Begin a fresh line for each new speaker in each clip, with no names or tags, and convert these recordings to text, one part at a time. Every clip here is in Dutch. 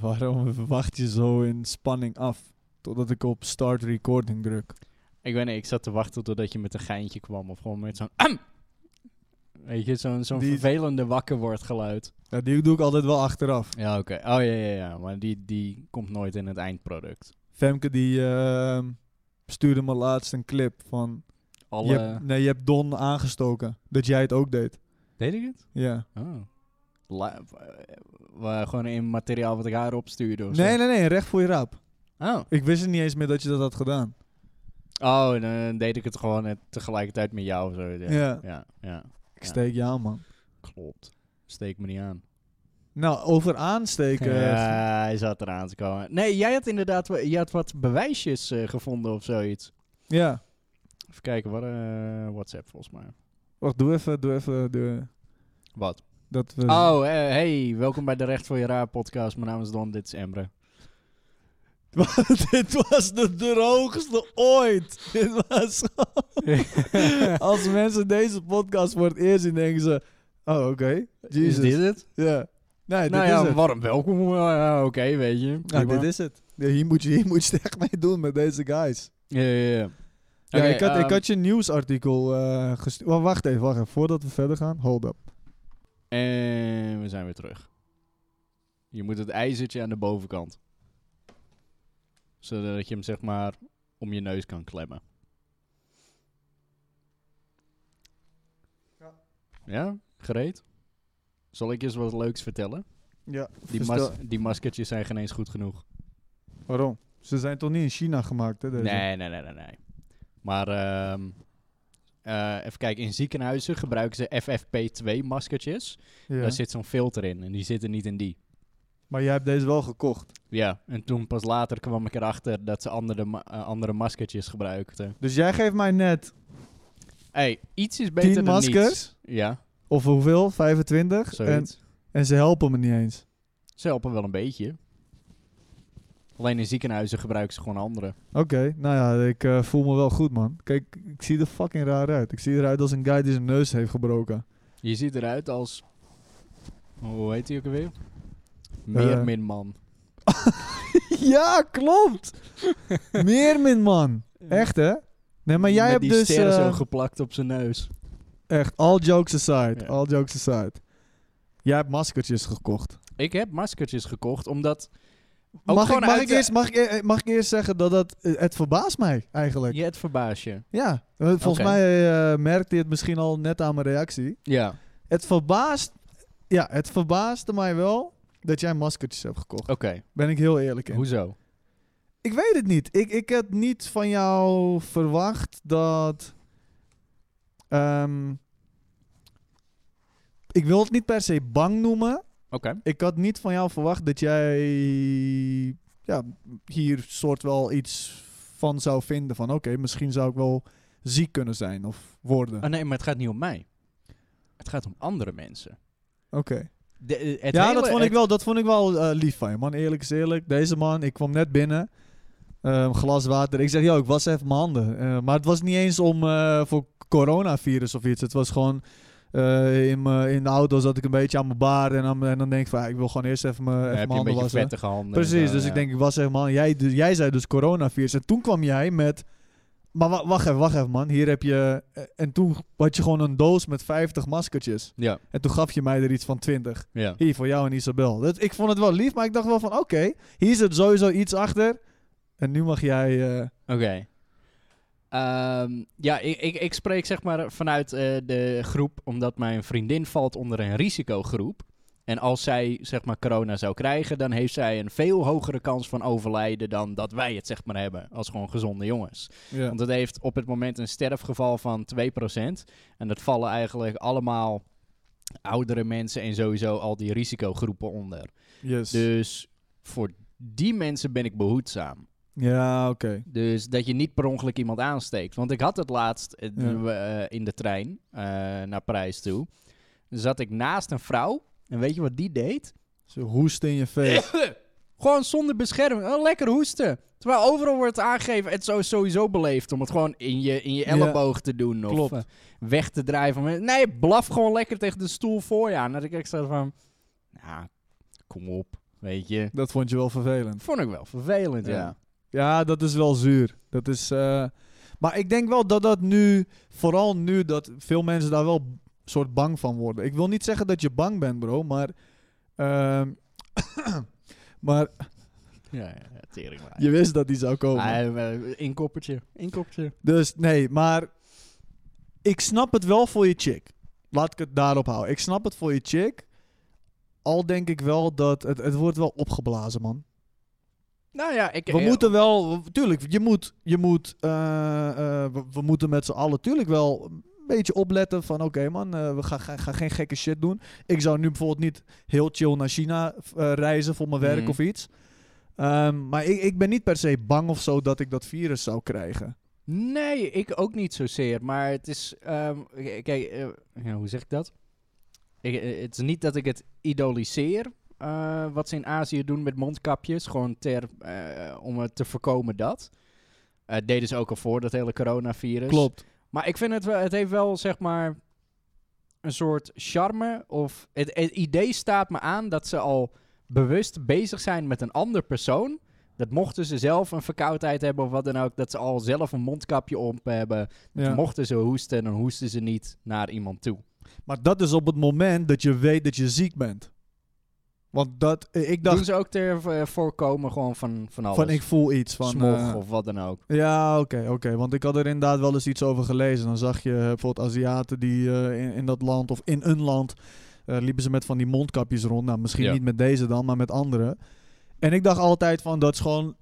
Waarom wacht je zo in spanning af totdat ik op start recording druk?
Ik weet niet, ik zat te wachten totdat je met een geintje kwam. Of gewoon met zo'n... "Ahem!" Weet je, zo'n zo'n
Die-
vervelende wakker wordt geluid.
Ja, die doe ik altijd wel achteraf.
Ja, oké. Oh ja, ja, ja. Maar die, die komt nooit in het eindproduct.
Femke die ehm, stuurde me laatst een clip van...
Alle...
Je hebt, nee, je hebt Don aangestoken. Dat jij het ook deed.
Deed ik het?
Ja.
Oh. La- eh, wa- gewoon in materiaal wat ik haar opstuurde of zo.
Nee, nee, nee. Recht voor je raap.
Oh.
Ik wist het niet eens meer dat je dat had gedaan.
Oh, dan deed ik het gewoon eh, tegelijkertijd met jou of zo. Ja.
Ja.
Ja, ja.
Ik steek je aan, man.
Klopt. Steek me niet aan.
Nou, over aansteken. eh,
Ja, hij zat eraan te komen. Nee, jij had inderdaad wa- je had wat bewijsjes eh, gevonden of zoiets.
ja.
Even kijken, wat, eh, WhatsApp volgens mij.
Wacht, doe even, doe even. Doe,
Wat?
dat we...
Oh, eh, hey, welkom bij de Recht voor je Raar podcast. Mijn naam is Don, dit is Emre.
Want dit was de droogste ooit. Dit was gewoon- Als mensen deze podcast voor het eerst zien, denken ze... Oh, oké.
Is dit
Jesus.
het?
Ja. Nee, dit
nou
is
ja,
het.
warm welkom. eh, Oké, weet je.
Nou,
prima.
dit is het. Ja, hier, moet je, hier moet je het echt mee doen met deze guys.
Ja, ja, ja.
Ja,
Oké,
ik, had, ik
ehm,
had je een nieuwsartikel eh gestuurd. wacht even, wacht even. Voordat we verder gaan, hold up.
En we zijn weer terug. Je moet het ijzertje aan de bovenkant. Zodat je hem zeg maar om je neus kan klemmen.
Ja.
Ja, gereed? Zal ik eens wat leuks vertellen?
Ja,
Die, mas die maskertjes zijn geen eens goed genoeg.
Waarom? Ze zijn toch niet in China gemaakt, hè? Deze?
Nee, nee, nee, nee, nee. Maar ehm, eh, even kijken, in ziekenhuizen gebruiken ze FFP2 maskertjes.
Ja.
Daar zit zo'n filter in en die zitten niet in die.
Maar jij hebt deze wel gekocht.
Ja, en toen pas later kwam ik erachter dat ze andere, ma- eh, andere maskertjes gebruikten.
Dus jij geeft mij net...
hey, iets is beter
Tien
dan
maskers?
niets. Ja,
Of hoeveel? 25? En,
zoiets.
en ze helpen me niet eens.
Ze helpen wel een beetje. Alleen in ziekenhuizen gebruiken ze gewoon andere.
Oké, nou ja, ik eh, voel me wel goed, man. Kijk, ik zie er fucking raar uit. Ik zie eruit als een guy die zijn neus heeft gebroken.
Je ziet eruit als... Hoe heet hij ook
Eh.
alweer? Meerminman.
ja, klopt! Meermin, man. Echt, hè? Nee, maar jij
Met
hebt
die
dus...
sterren zo
eh,
geplakt op zijn neus.
echt, all jokes aside,
Ja.
all jokes aside. Jij hebt maskertjes gekocht.
Ik heb maskertjes gekocht omdat... ook
Mag ik,
gewoon
mag,
uit
ik
de-
eerst, mag, ik, e- mag ik eerst zeggen dat dat... eh, Het verbaast mij, eigenlijk. Ja,
Je het verbaast je.
eh, volgens
Oké.
mij eh, merkte je het misschien al net aan mijn reactie.
Ja.
Het verbaast... Ja, het verbaasde mij wel dat jij maskertjes hebt gekocht.
Oké,
Ben ik heel eerlijk in.
hoezo?
Ik weet het niet. Ik, ik had niet van jou verwacht dat. ehm, ik wil het niet per se bang noemen.
Oké.
Ik had niet van jou verwacht dat jij ja, hier soort wel iets van zou vinden. Van oké, misschien zou ik wel ziek kunnen zijn of worden.
Ah, nee, maar het gaat niet om mij. Het gaat om andere mensen.
Oké.
De, eh, het
Ja,
hele-
dat vond, ik
het-
wel, dat vond ik wel eh, lief van je, man. Eerlijk is eerlijk. Deze man, ik kwam net binnen. Ehm, glas water. Ik zeg, joh, ik was even mijn handen. Eh, maar het was niet eens om eh, voor coronavirus of iets. Het was gewoon... eh, in, mijn- in de auto zat ik een beetje aan mijn baard. En, aan mijn- en dan denk ik van, ja, ik wil gewoon eerst even mijn, even
heb
mijn
je een
handen
beetje
wassen.
vettige handen. en
Precies,
zo,
dus
ja.
ik denk, ik was even man. Jij, dus, jij zei dus coronavirus. En toen kwam jij met... Maar wa- wacht even, wacht even, man. Hier heb je... eh, En toen had je gewoon een doos met 50 maskertjes.
Ja,
En toen gaf je mij er iets van 20.
ja.
Hier, voor jou en Isabel. Dat, ik vond het wel lief, maar ik dacht wel van... Oké, hier zit sowieso iets achter. En nu mag jij... eh,
Oké. Ehm, ja, ik, ik, ik spreek zeg maar vanuit eh, de groep, omdat mijn vriendin valt onder een risicogroep. En als zij zeg maar corona zou krijgen, dan heeft zij een veel hogere kans van overlijden dan dat wij het zeg maar hebben. Als gewoon gezonde jongens. Want het heeft op het moment een sterfgeval van 2%. En dat vallen eigenlijk allemaal oudere mensen en sowieso al die risicogroepen onder.
yes.
Dus voor die mensen ben ik behoedzaam.
Ja, oké.
Dus dat je niet per ongeluk iemand aansteekt. Want ik had het laatst eh,
Ja.
toen we, eh, in de trein eh, naar Parijs toe. Zat ik naast een vrouw. En weet je wat die deed?
Ze hoest in je face.
Gewoon zonder bescherming. Oh, lekker hoesten. Terwijl overal wordt aangegeven. Het is sowieso beleefd om het gewoon in je, in je
Ja,
elleboog te doen. Of
klopt.
eh, weg te drijven. Maar Nee, blaf gewoon lekker tegen de stoel voor je aan. En ik echt zo van... Nou, kom op. Weet je.
Dat vond je wel vervelend.
Vond ik wel vervelend, ja.
Ja. Ja, dat is wel zuur. Dat is, eh, maar ik denk wel dat dat nu, vooral nu, dat veel mensen daar wel een soort bang van worden. Ik wil niet zeggen dat je bang bent, bro, maar. ehm, maar
Ja, ja, ja teringlaai.
je wist dat die zou komen.
Ah, eh, inkoppertje, inkoppertje.
Dus nee, maar ik snap het wel voor je chick. Laat ik het daarop houden. Ik snap het voor je chick. Al denk ik wel dat het, het wordt wel opgeblazen, man.
Nou ja, ik...
We
eh,
moeten wel, tuurlijk, je moet, je moet eh, eh, we, we moeten met z'n allen tuurlijk wel een beetje opletten van oké man, eh, we gaan ga, ga geen gekke shit doen. Ik zou nu bijvoorbeeld niet heel chill naar China eh, reizen voor mijn werk
Mhm.
of iets. Ehm, maar ik, ik ben niet per se bang of zo dat ik dat virus zou krijgen.
Nee, ik ook niet zozeer. Maar het is... ehm, k- kijk, eh, ja, hoe zeg ik dat? Ik, eh, het is niet dat ik het idoliseer. eh, wat ze in Azië doen met mondkapjes. Gewoon ter, eh, om het te voorkomen dat. Eh deden ze ook al voor, dat hele coronavirus.
Klopt.
Maar ik vind het wel... Het heeft wel, zeg maar... Een soort charme. Of het, het idee staat me aan dat ze al bewust bezig zijn met een ander persoon. Dat mochten ze zelf een verkoudheid hebben of wat dan ook. Dat ze al zelf een mondkapje op hebben.
Ja.
Mochten ze hoesten, dan hoesten ze niet naar iemand toe.
Maar dat is op het moment dat je weet dat je ziek bent. Want dat, eh, ik dacht
Doen ze ook ter eh, voorkomen gewoon van, van alles.
van ik voel iets van...
Smog
eh,
of wat dan ook.
Ja, oké, oké. Want ik had er inderdaad wel eens iets over gelezen. Dan zag je eh, bijvoorbeeld Aziaten die eh, in, in dat land of in een land eh, liepen ze met van die mondkapjes rond. Nou, misschien
Ja.
niet met deze dan, maar met andere. En ik dacht altijd van dat is gewoon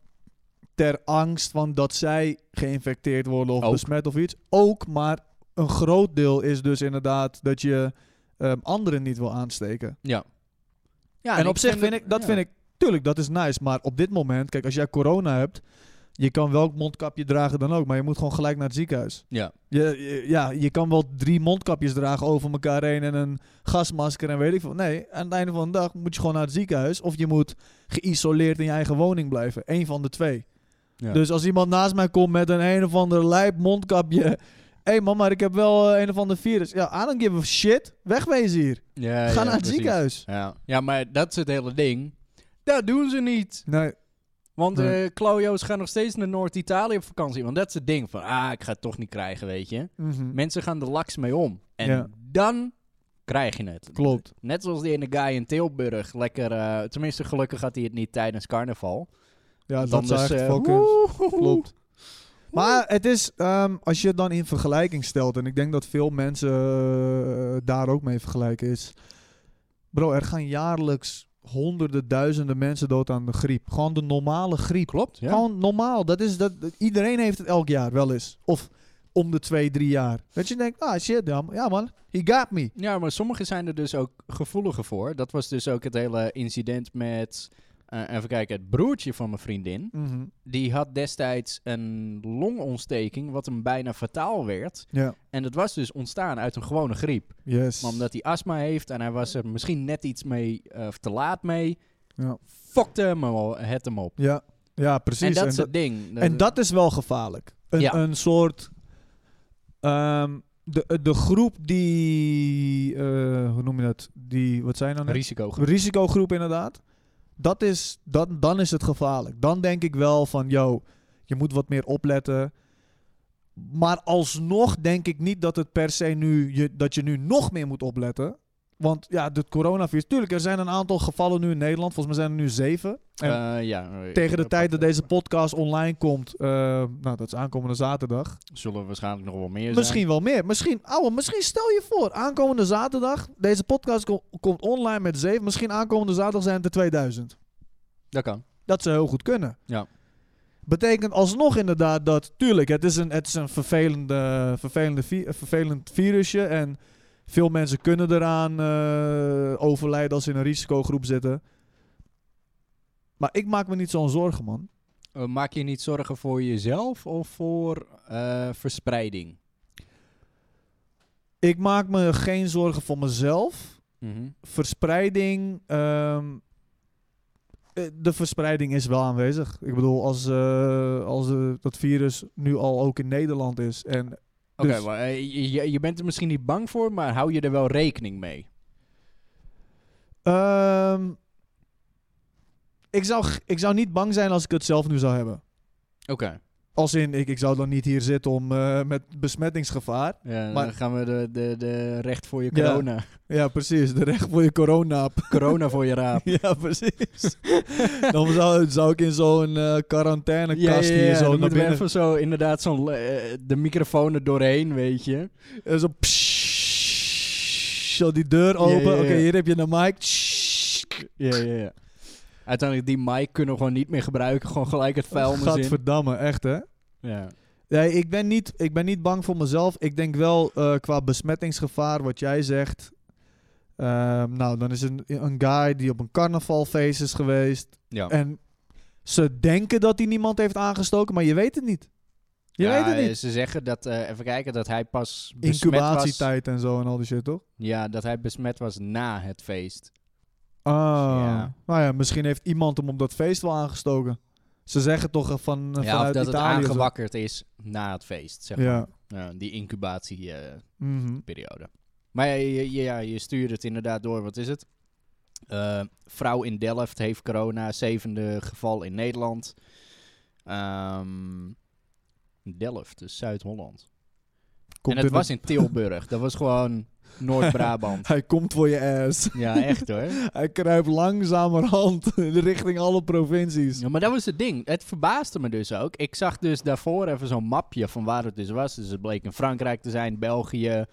ter angst van dat zij geïnfecteerd worden of
Ook.
besmet of iets. Ook, maar een groot deel is dus inderdaad dat je ehm, anderen niet wil aansteken.
Ja. ja
en op zich vind ik, dat
ja.
vind ik, tuurlijk, dat is nice. Maar op dit moment, kijk, als jij corona hebt, je kan welk mondkapje dragen dan ook, maar je moet gewoon gelijk naar het ziekenhuis.
Ja.
Je, je- ja, je kan wel drie mondkapjes dragen over elkaar heen en een gasmasker en weet ik veel. Nee, aan het einde van de dag moet je gewoon naar het ziekenhuis of je moet geïsoleerd in je eigen woning blijven. Eén van de twee.
Ja.
Dus als iemand naast mij komt met een een of ander lijp mondkapje. Hé hey man, maar ik heb wel eh, een of ander virus. Ja, I don't give a shit. Wegwezen hier.
Ja,
Ga
ja,
naar het
precies.
ziekenhuis.
Ja. ja, maar dat is het hele ding. Dat doen ze niet.
Nee,
Want eh
Nee.
Klojo's gaan nog steeds naar Noord-Italië op vakantie. Want dat is het ding van, ah, ik ga het toch niet krijgen, weet je.
mhm.
Mensen gaan er laks mee om. En
Ja.
dan krijg je het.
klopt.
Net zoals die ene guy in Tilburg. Lekker, eh, tenminste gelukkig had hij het niet tijdens carnaval.
Ja,
Want
dat is
anders,
echt
eh,
fucking...
woehoehoe.
Klopt. Maar het is, ehm, als je het dan in vergelijking stelt, en ik denk dat veel mensen eh, daar ook mee vergelijken, is. Bro, er gaan jaarlijks honderden, duizenden mensen dood aan de griep. Gewoon de normale griep.
Klopt, ja.
Gewoon normaal. Dat is, dat, dat- iedereen heeft het elk jaar wel eens. Of om de twee, drie jaar. Dat je denkt, ah shit, ja, ja man, he got me.
Ja, maar sommigen zijn er dus ook gevoeliger voor. Dat was dus ook het hele incident met, eh, even kijken, het broertje van mijn vriendin.
Mhm.
Die had destijds een longontsteking, wat hem bijna fataal werd.
Ja,
En dat was dus ontstaan uit een gewone griep.
yes.
Maar omdat hij astma heeft en hij was er misschien net iets mee eh, of te laat mee,
Ja.
fokte hem al, het hem op.
ja. ja, precies.
en dat
En
is
dat-
het ding.
En dat is wel gevaarlijk. Een,
Ja.
een soort. ehm, de, de groep die. eh, hoe noem je dat? Die. Wat zijn dan?
risico.
Risicogroep, inderdaad. Dat is, dat, dan is het gevaarlijk. Dan denk ik wel van. Yo, je moet wat meer opletten. Maar alsnog denk ik niet dat het per se nu. Je, dat je nu nog meer moet opletten. Want ja, het coronavirus. Tuurlijk, er zijn een aantal gevallen nu in Nederland. Volgens mij zijn er nu zeven. En
ja,
tegen de
eh,
tijd dat deze podcast online komt, eh, nou dat is aankomende zaterdag.
Zullen er waarschijnlijk nog wel meer zijn.
Misschien wel meer. Misschien, ouwe, misschien stel je voor, aankomende zaterdag, deze podcast ko- komt online met zeven. Misschien aankomende zaterdag zijn het er 2000.
Dat kan.
Dat zou heel goed kunnen.
Ja.
Betekent alsnog inderdaad dat, tuurlijk, het is een, het is een vervelende, vervelende vi- eh, vervelend virusje. En veel mensen kunnen eraan eh, overlijden als ze in een risicogroep zitten. Maar ik maak me niet zo'n zorgen, man.
Eh, maak je niet zorgen voor jezelf of voor eh, verspreiding?
Ik maak me geen zorgen voor mezelf.
Mhm.
Verspreiding. ehm, eh, de verspreiding is wel aanwezig. Ik bedoel, als, eh, als eh, dat virus nu al ook in Nederland is. En
Oké,
Dus-
maar, eh, je- je, je bent er misschien niet bang voor, maar hou je er wel rekening mee?
ehm, Ik zou, g- ik zou niet bang zijn als ik het zelf nu zou hebben.
Oké.
Als in, ik, ik zou dan niet hier zitten om, eh, met besmettingsgevaar.
Ja,
Maar-
dan gaan we de, de, de recht voor je
Ja.
corona.
Ja, precies. De recht voor je corona.
Corona voor je raap.
ja, precies. dan zou, zou ik in zo'n eh, quarantainekast hier zo
dan
naar
moeten we
binnen...
even zo inderdaad zo'n eh, de microfoon er doorheen, weet je.
En zo... pssst, zo die deur open.
ja, ja.
Oké, hier heb je een mic. Pssst.
Ja, ja, ja. Uiteindelijk die mic kunnen we gewoon niet meer gebruiken. Gewoon gelijk het vuilnis in.
Gadverdamme, echt hè.
Ja.
Nee, ik ben, niet, ik ben niet bang voor mezelf. Ik denk wel eh, qua besmettingsgevaar, wat jij zegt. Ehm, nou, dan is een, een guy die op een carnavalfeest is geweest.
Ja.
En ze denken dat hij niemand heeft aangestoken, maar je weet het niet. Je
Ja,
weet het niet.
Ze zeggen dat, eh, even kijken, dat hij pas besmet was.
Incubatietijd en zo en al die shit, toch?
Ja, dat hij besmet was na het feest.
Ah,
Ja.
nou ja, misschien heeft iemand hem op dat feest wel aangestoken. Ze zeggen toch eh, van, eh,
ja, of
vanuit
dat het
Italië. of zo.
aangewakkerd is na het feest, zeg
Ja.
maar. Ja, die eh, incubatieperiode.
Mhm.
maar ja, je, je- ja, je stuurt het inderdaad door. Wat is het? Eh, vrouw in Delft heeft corona. Zevende geval in Nederland. Ehm, Delft, dus Zuid-Holland.
Komt
en het
in
was
het-
in Tilburg. dat was gewoon Noord-Brabant.
Hij komt voor je ass.
ja, echt hoor.
Hij kruipt langzamerhand richting alle provincies.
Ja, maar dat was het ding. Het verbaasde me dus ook. Ik zag dus daarvoor even zo'n mapje van waar het dus was. Dus het bleek in Frankrijk te zijn, België,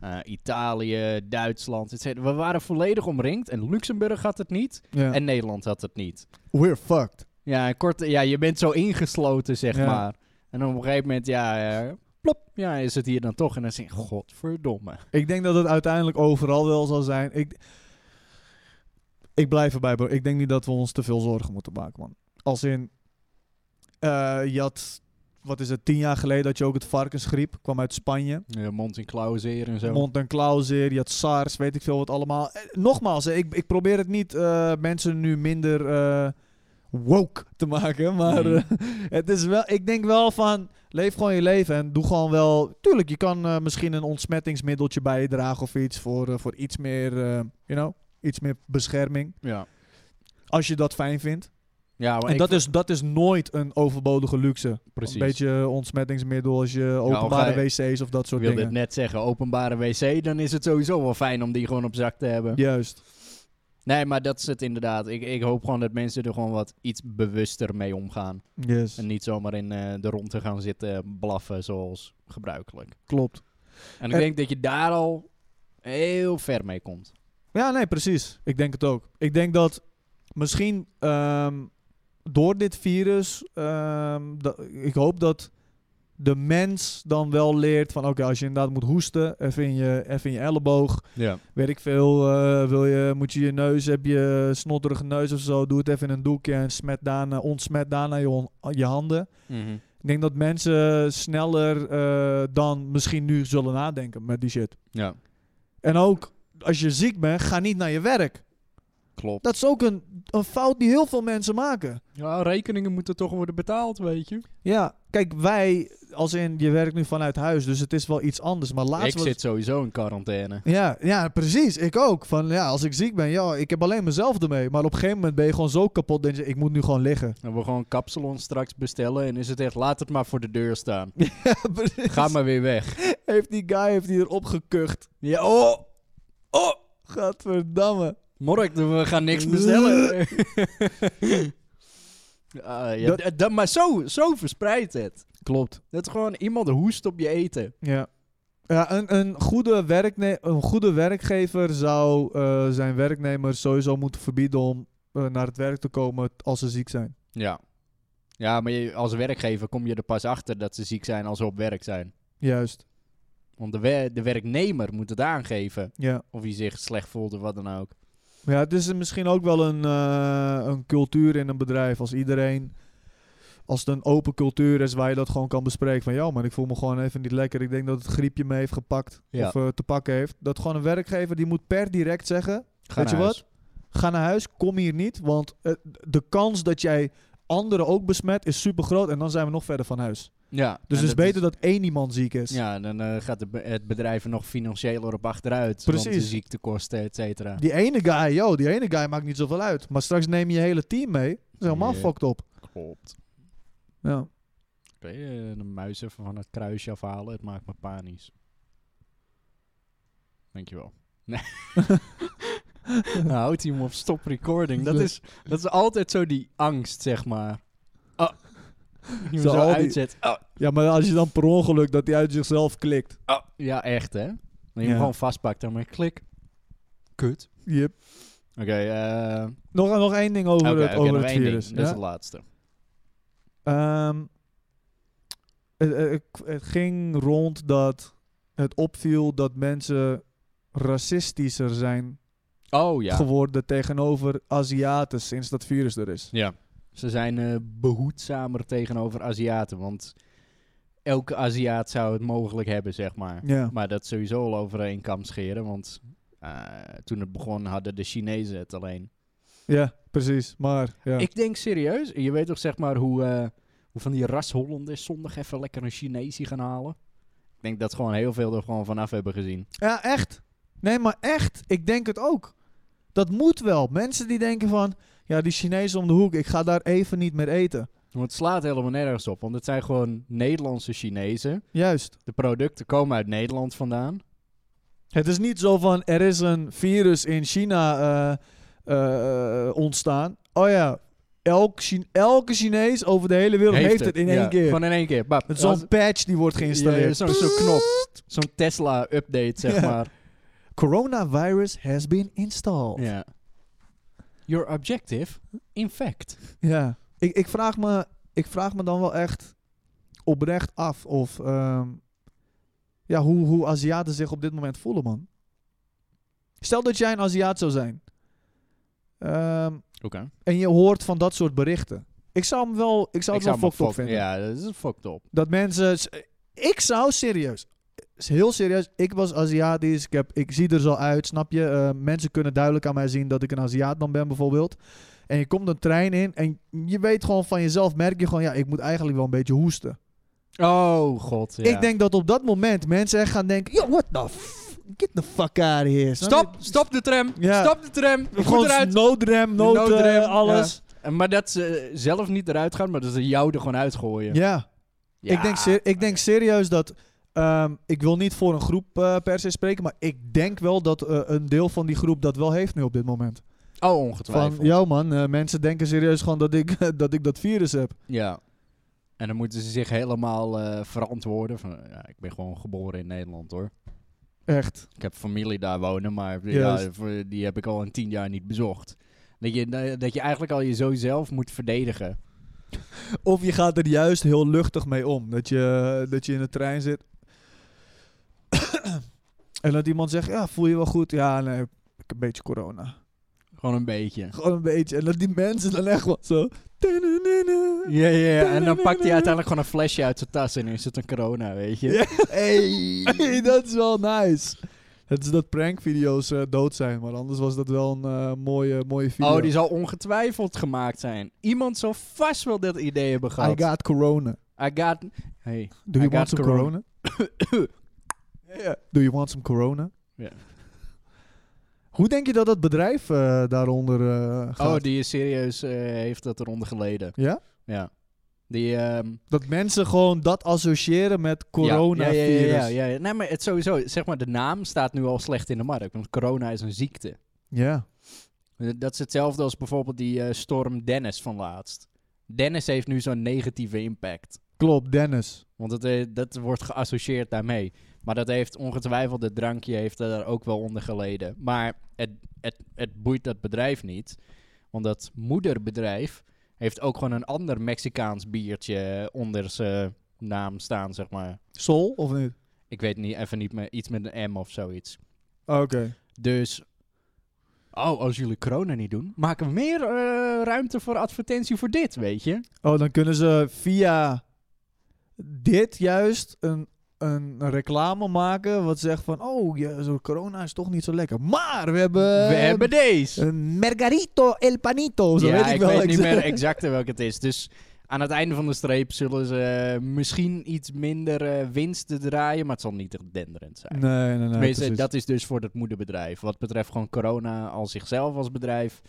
eh, Italië, Duitsland. et cetera. We waren volledig omringd. En Luxemburg had het niet.
Ja.
En Nederland had het niet.
We're fucked.
Ja, en kort, ja, je bent zo ingesloten, zeg
Ja.
maar. En op een gegeven moment, ja, eh, plop, ja, is het hier dan toch. En dan zeg je, godverdomme.
Ik denk dat het uiteindelijk overal wel zal zijn. Ik, ik blijf erbij, bro. Ik denk niet dat we ons te veel zorgen moeten maken, man. Als in, eh, je had, wat is het, tien jaar geleden had je ook het varkensgriep. Kwam uit Spanje.
Ja, mond in klauw zeer en zo.
Mond- en klauwzeer, je had SARS, weet ik veel wat allemaal. Eh, Nogmaals, eh, ik, ik probeer het niet eh, mensen nu minder eh, woke te maken. Maar
Mhm.
eh, het is wel, ik denk wel van, leef gewoon je leven en doe gewoon wel... Tuurlijk, je kan eh, misschien een ontsmettingsmiddeltje bijdragen of iets voor, eh, voor iets meer, eh, you know, iets meer bescherming.
Ja,
Als je dat fijn vindt.
ja maar
en
ik
dat
vond-
is, dat is nooit een overbodige luxe.
precies.
Een beetje ontsmettingsmiddel als je
of
openbare
ga
wc's of dat soort
Ik wilde
dingen.
het net zeggen, openbare wc, dan is het sowieso wel fijn om die gewoon op zak te hebben.
Juist.
Nee, maar dat is het inderdaad. Ik, ik hoop gewoon dat mensen er gewoon wat iets bewuster mee omgaan.
Yes.
En niet zomaar in eh, de rond te gaan zitten blaffen zoals gebruikelijk.
Klopt.
En ik
En-
denk dat je daar al heel ver mee komt.
Ja, nee, precies. Ik denk het ook. Ik denk dat misschien ehm, door dit virus, ehm, da- ik hoop dat de mens dan wel leert van oké, als je inderdaad moet hoesten, even in je, even in je elleboog,
Ja.
weet ik veel, eh, wil je, moet je je neus, heb je snotterige neus of zo, doe het even in een doekje en smet daarna, ontsmet daarna je, hon- je handen. Ik denk dat mensen sneller eh, dan misschien nu zullen nadenken met die shit.
ja,
En ook, als je ziek bent, ga niet naar je werk.
klopt.
Dat is ook een, een fout die heel veel mensen maken.
Ja, rekeningen moeten toch worden betaald, weet je.
Ja, kijk, wij, als in, je werkt nu vanuit huis, dus het is wel iets anders. Maar laatst
ik
was-
zit sowieso in quarantaine.
Ja, ja, precies. Ik ook. Van ja, als ik ziek ben, ja, ik heb alleen mezelf ermee. Maar op een gegeven moment ben je gewoon zo kapot, denk je, ik moet nu gewoon liggen.
Dan we gewoon kapsalon straks bestellen en is het echt, laat het maar voor de deur staan.
Precies.
Ga maar weer weg.
Heeft die guy heeft die erop gekucht.
Ja, oh! Oh!
Gadverdamme.
Mork, we gaan niks bestellen. Ah, ja,
Dat-
d- dat- maar zo, zo verspreidt het.
Klopt.
Dat gewoon iemand hoest op je eten.
Ja. Ja, een, een, goede werkne- een goede werkgever zou eh, zijn werknemers sowieso moeten verbieden om eh, naar het werk te komen als ze ziek zijn.
Ja. Ja, maar je- als werkgever kom je er pas achter dat ze ziek zijn als ze op werk zijn.
Juist.
Want de, wer- de werknemer moet het aangeven
Ja,
of hij zich slecht voelt of wat dan ook.
maar ja het is misschien ook wel een, eh, een cultuur in een bedrijf. Als iedereen, als het een open cultuur is waar je dat gewoon kan bespreken. Van ja, maar ik voel me gewoon even niet lekker. Ik denk dat het griepje me heeft gepakt
Ja.
of eh, te pakken heeft. Dat gewoon een werkgever die moet per direct zeggen:
Ga
Weet
naar
je
huis.
ga naar huis, kom hier niet. Want eh, de kans dat jij anderen ook besmet is super groot. En dan zijn we nog verder van huis.
Ja.
Dus het
en
is
dat
beter dat één iemand ziek is.
Ja, dan eh, gaat de be- het bedrijf er nog financieel op achteruit. Want de
Precies.
ziektekosten, et cetera.
Die ene guy, joh, die ene guy maakt niet zoveel uit. Maar straks neem je je hele team mee. is helemaal
Ja.
fucked op.
Klopt.
Ja.
Kun je eh, de muis even van het kruisje afhalen? Het maakt me panisch. Dankjewel. Nee. nou, houdt hij hem op stop recording. Dat is, dat is altijd zo die angst, zeg maar. Oh. Je hem
Zo
zo
al die-
uitzet. Oh.
ja, maar als je dan per ongeluk dat hij uit zichzelf klikt.
Oh. Ja, echt hè? Dat je
Ja.
hem gewoon vastpakt en maar klik. Kut.
Yep.
Oké, eh
Nog, nog één ding over
oké,
het,
oké,
over
nog
het
één ding.
virus.
Dat is
ja?
het laatste.
Ehm, het, het- het ging rond dat het opviel dat mensen racistischer zijn
Oh ja.
geworden tegenover Aziaten sinds dat virus er is.
Ja. Ze zijn eh, behoedzamer tegenover Aziaten, want elke Aziat zou het mogelijk hebben, zeg maar.
Ja,
Maar dat is sowieso al over één kam scheren, want eh, toen het begon hadden de Chinezen het alleen.
ja precies. Maar ja.
Ik denk serieus, je weet toch zeg maar hoe, eh, hoe van die ras Hollanders zondag even lekker een Chinesie gaan halen? Ik denk dat gewoon heel veel er gewoon vanaf hebben gezien.
ja, echt. Nee, maar echt. Ik denk het ook. Dat moet wel. Mensen die denken van, ja, die Chinezen om de hoek, ik ga daar even niet meer eten.
Want het slaat helemaal nergens op, want het zijn gewoon Nederlandse Chinezen.
Juist.
De producten komen uit Nederland vandaan.
Het is niet zo van er is een virus in China eh, eh, ontstaan. Oh ja, elk Chi- elke Chinees over de hele wereld heeft, het. in
ja.
één keer.
Gewoon in één keer. Bap.
Het is
Als-
zo'n patch die wordt
Ja,
geïnstalleerd.
Zo'n zo'n knop. Zo'n Tesla-update, zeg
Ja.
maar.
Coronavirus has been installed. Ja.
Ja. Your objective, in fact.
Ik, ik, vraag me, ik vraag me dan wel echt oprecht af of... ehm, ja, hoe, hoe Aziaten zich op dit moment voelen, man. Stel dat jij een Aziat zou zijn. Ehm,
Oké.
en je hoort van dat soort berichten. Ik zou hem wel, ik zou het wel fucked up vinden.
Ja, dat is fucked up.
Dat mensen, s- ik zou serieus, s- heel serieus, ik was Aziatisch, ik, heb, ik zie er zo uit, snap je? Eh, mensen kunnen duidelijk aan mij zien dat ik een Aziat dan ben bijvoorbeeld. En je komt een trein in en je weet gewoon van jezelf, merk je gewoon, ja, ik moet eigenlijk wel een beetje hoesten.
Oh, god, ja.
Ik denk dat op dat moment mensen echt gaan denken, yo, what the f- get the fuck out of here. Snap
Stop,
je?
stop de tram.
Ja.
Stop de tram. Ik
Gewoon
moet eruit.
noodrem, nood, eh,
Noodrem,
alles.
En Maar dat ze zelf niet eruit gaan, maar dat ze jou er gewoon uitgooien.
ja.
Ja.
Ik, denk ser- ik denk serieus dat. ehm, ik wil niet voor een groep eh, per se spreken, maar ik denk wel dat eh, een deel van die groep dat wel heeft nu op dit moment.
Oh,
Van,
ongetwijfeld. ja.
ja man, eh, mensen denken serieus gewoon dat ik, dat ik dat virus heb.
En dan moeten ze zich helemaal eh, verantwoorden. Van, ja, ik ben gewoon geboren in Nederland, hoor.
Echt.
Ik heb familie daar wonen, maar ja,
Juist.
voor- die heb ik al in tien jaar niet bezocht. Dat je, dat je eigenlijk al je zo zelf moet verdedigen.
Of je gaat er juist heel luchtig mee om. Dat je, dat je in de trein zit. en dat iemand zegt, ja, voel je wel goed? Ja, nee, ik heb een beetje corona.
Gewoon een beetje.
Gewoon een beetje. En dat die mensen dan echt wel zo...
Ja, ja, ja. En dan pakt hij uiteindelijk gewoon een flesje uit zijn tas en is het een corona, weet je.
Ja.
Hey.
Hey, dat is wel nice. Het is dat prankvideo's eh, dood zijn, maar anders was dat wel een eh, mooie, mooie video.
Oh, die zal ongetwijfeld gemaakt zijn. Iemand zal vast wel dat idee hebben
I
gehad.
got corona.
I got... Hey.
Do you
I got
want some corona?
corona.
Yeah. Do you want some corona?
Ja.
Hoe denk je dat dat bedrijf eh, daaronder eh, gaat?
Oh, die is serieus eh, heeft dat eronder geleden.
Ja?
Ja. Die... ehm,
Dat mensen gewoon dat associëren met coronavirus.
Ja, ja, ja, ja, ja, ja. Nee, maar het sowieso, zeg maar, de naam staat nu al slecht in de markt. Want corona is een ziekte.
Ja.
Eh, Dat is hetzelfde als bijvoorbeeld die eh, storm Dennis van laatst. Dennis heeft nu zo'n negatieve impact.
Klopt, Dennis.
Want het, eh, dat wordt geassocieerd daarmee. Maar dat heeft ongetwijfeld, het drankje heeft daar ook wel onder geleden. Maar het, het, het boeit dat bedrijf niet. Want dat moederbedrijf heeft ook gewoon een ander Mexicaans biertje onder zijn naam staan, zeg maar.
Sol, of niet?
Ik weet niet, even niet meer. Iets met een M of zoiets.
Oké.
Dus. Oh, als jullie corona niet doen, maken we meer eh, ruimte voor advertentie voor dit, weet je?
Oh, dan kunnen ze via dit juist een, een reclame maken. Wat zegt van, oh, ja, zo corona is toch niet zo lekker. Maar we hebben...
we hebben deze.
Een Margarito El Panito, Ehm, eh, oh, zo
ja,
weet ik, wel.
weet niet
exact.
meer exact welke het is. Dus aan het einde van de streep zullen ze eh, misschien iets minder eh, winsten draaien, maar het zal niet echt denderend zijn.
Nee, nee, nee.
Tenminste,
precies.
dat is dus voor het moederbedrijf. Wat betreft gewoon corona als zichzelf als bedrijf,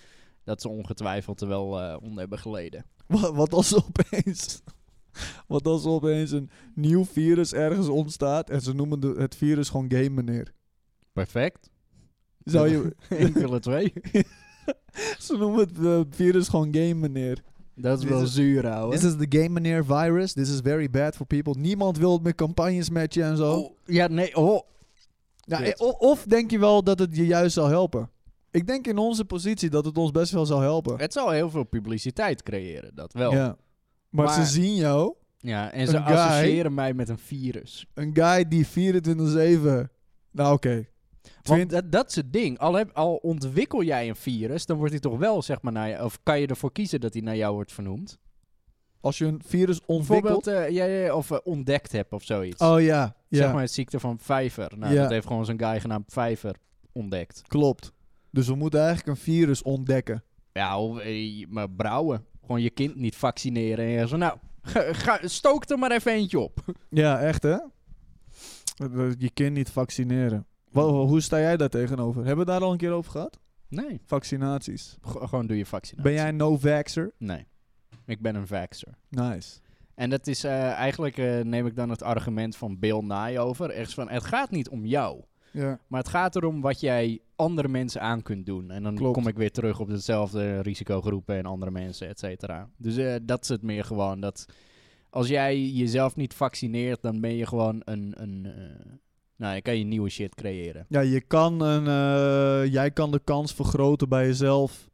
dat ze ongetwijfeld er wel eh, onder hebben geleden.
Wat, wat als er opeens. Wat als er opeens een nieuw virus ergens ontstaat en ze noemen de- het virus gewoon game meneer.
Perfect.
Zou je,
Enkele twee.
ze noemen het eh, virus gewoon game meneer.
Dat is
Dit
wel
is-
zuur, ouwe.
This is the game meneer virus. This is very bad for people. Niemand wil het met campagnes met je en zo.
Oh, ja, nee, oh.
Ja,
Kut.
eh, o- of denk je wel dat het je juist zal helpen? Ik denk in onze positie dat het ons best wel zal helpen.
Het zal heel veel publiciteit creëren, dat wel. Ja,
Ja. Maar,
Maar-
ze zien jou,
en ze
Een guy-
associëren mij met een virus.
een guy die 24-7. Nou, oké.
Want
Twint-
dat, dat is het ding. Al, heb, al ontwikkel jij een virus, dan wordt hij toch wel, zeg maar, naar je... Of kan je ervoor kiezen dat hij naar jou wordt vernoemd?
Als je een virus ontwikkelt.
Bijvoorbeeld, eh, jij, of eh, ontdekt hebt of zoiets.
Oh ja, ja
Zeg maar het ziekte van Pfeiffer. Nou,
Ja.
dat heeft gewoon zo'n guy genaamd Pfeiffer ontdekt.
klopt. Dus we moeten eigenlijk een virus ontdekken.
Ja, of, eh, maar brouwen. Gewoon je kind niet vaccineren. En zo, nou, ga, ga- stook er maar even eentje op.
Ja, echt hè? Dat- dat Je kind niet vaccineren. Wa- wa- hoe sta jij daar tegenover? Hebben we daar al een keer over gehad?
Nee,
Vaccinaties.
go- gewoon doe je vaccinatie.
Ben jij een no-vaxxer?
Nee, ik ben een vaxxer.
Nice.
En dat is eh, eigenlijk, eh, neem ik dan het argument van Bill Nye over. Ergens van, het gaat niet om jou.
Ja.
Maar het gaat erom wat jij andere mensen aan kunt doen. En dan
Klopt.
kom ik weer terug op dezelfde risicogroepen en andere mensen, et cetera. Dus eh, dat is het meer gewoon. Dat als jij jezelf niet vaccineert, dan ben je gewoon een... een eh, nou, dan kan je nieuwe shit creëren.
Ja, je kan een, eh, jij kan de kans vergroten bij jezelf.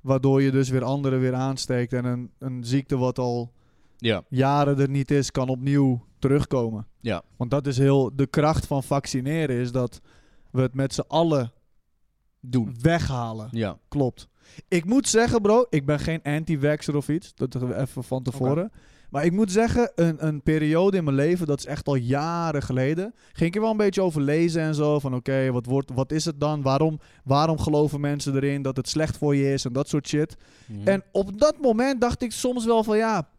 Waardoor je dus weer anderen weer aansteekt. En een, een ziekte wat al
Ja.
jaren er niet is, kan opnieuw terugkomen.
Ja.
Want dat is heel. De kracht van vaccineren is dat we het met z'n allen
Doen.
weghalen.
Ja.
Klopt. Ik moet zeggen, bro, ik ben geen anti-vaxxer of iets. Dat we even van tevoren. Maar ik moet zeggen, een, een periode in mijn leven, dat is echt al jaren geleden. Ging ik er wel een beetje over lezen en zo. Van oké, wat wat, wat is het dan? Waarom, waarom geloven mensen erin dat het slecht voor je is en dat soort shit?
Mhm.
En op dat moment dacht ik soms wel van ja.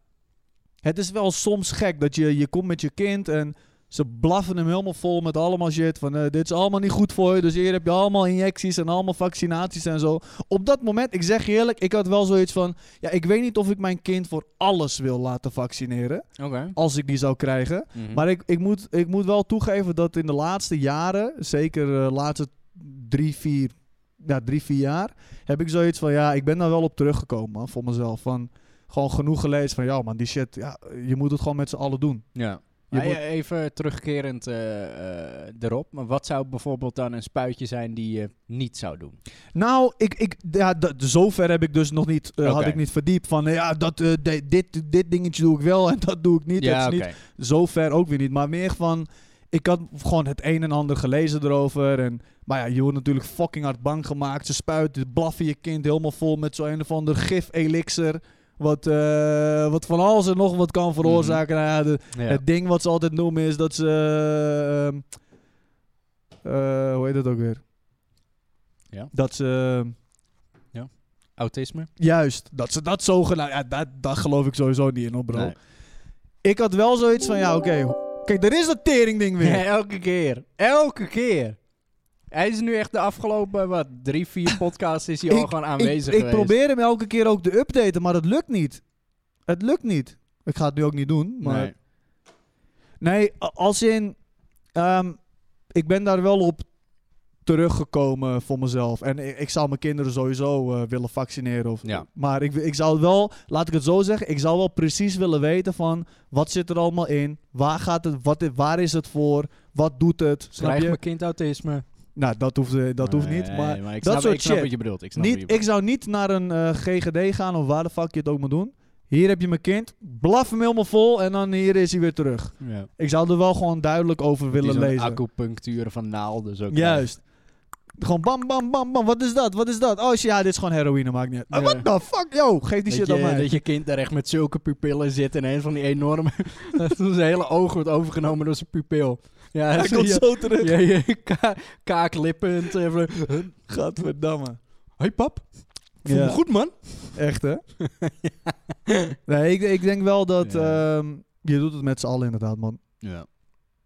Het is wel soms gek dat je, je komt met je kind en ze blaffen hem helemaal vol met allemaal shit. Van eh, dit is allemaal niet goed voor je. Dus hier heb je allemaal injecties en allemaal vaccinaties en zo. Op dat moment, ik zeg je eerlijk, ik had wel zoiets van. Ja, ik weet niet of ik mijn kind voor alles wil laten vaccineren.
Oké.
Als ik die zou krijgen.
Mhm.
Maar ik, ik, moet, ik moet wel toegeven dat in de laatste jaren, zeker de laatste drie, vier, ja, drie, vier jaar, heb ik zoiets van, ja, ik ben daar wel op teruggekomen man, voor mezelf. Van gewoon genoeg gelezen van, ja man, die shit, ja, je moet het gewoon met z'n allen doen.
Ja.
Je
Maar
moet-
ja, Even terugkerend eh, eh, erop. Maar wat zou bijvoorbeeld dan een spuitje zijn die je niet zou doen?
Nou, ik, ik, ja, dat- zover heb ik dus nog niet, eh, had
Oké.
ik niet verdiept van, eh, ja, dat, eh, de- dit, dit dingetje doe ik wel en dat doe ik niet. dat is niet
oké.
zover ook weer niet. Maar meer van, ik had gewoon het een en ander gelezen erover. En, maar ja, je wordt natuurlijk fucking hard bang gemaakt. Ze spuiten, blaffen je kind helemaal vol met zo'n een of ander gif-elixir. Wat, eh, wat van alles en nog wat kan veroorzaken. Nou ja, de-
Mhm. Ja.
Het ding wat ze altijd noemen is dat ze... ehm, eh, hoe heet dat ook weer?
Ja.
Dat ze...
Autisme?
Juist, dat ze dat zogenaamd... Ja, dat, dat geloof ik sowieso niet in, hoor, bro.
Nee.
Ik had wel zoiets van, ja, oké. Kijk, er is dat teringding weer.
elke keer. Elke keer. Hij is nu echt de afgelopen, wat, drie, vier podcasts is hij al gewoon aanwezig
ik, ik
geweest.
probeer hem elke keer ook te updaten, maar het lukt niet. Het lukt niet. Ik ga het nu ook niet doen. Maar nee.
Nee.
a- als in... ehm, ik ben daar wel op teruggekomen voor mezelf. En ik, ik zou mijn kinderen sowieso eh, willen vaccineren. Of,
Ja.
Maar ik, ik zou wel, laat ik het zo zeggen... Ik zou wel precies willen weten van... Wat zit er allemaal in? Waar, gaat het, wat, waar is het voor? Wat doet het? Snap
Krijgt
je?
mijn kind autisme?
Nou, dat hoeft, eh, dat hoeft
Nee,
niet. Maar dat
ik snap,
soort
ik snap
shit.
wat je bedoelt. Ik snap wat je
Niet, ik
bedoelt.
zou niet naar een eh, GGD gaan of waar de fuck je het ook moet doen. Hier heb je mijn kind, blaf hem helemaal vol en dan hier is hij weer terug.
Ja.
Ik zou er wel gewoon duidelijk over willen
Die zo'n
lezen.
acupunctuur van naalden. Zo
Juist. Gewoon bam, bam, bam, bam. Wat is dat? Wat is dat? Oh, shit, ja, dit is gewoon heroïne, maakt niet uit. Ah,
Ja.
what the fuck, yo? Geef die
Dat
shit
je,
aan mij.
dat je kind daar echt met zulke pupillen zit en een van die enorme... dat zijn hele oog wordt overgenomen door zijn pupil. Ja,
Hij
zie
komt
je-
zo terug.
Ja, je ka- kaaklippend. eh, even-
Gadverdamme.
Hoi pap, voel
Ja.
me goed man.
Echt, hè? Nee, ik, ik denk wel dat...
Ja.
ehm, je doet het met z'n allen inderdaad, man.
Ja.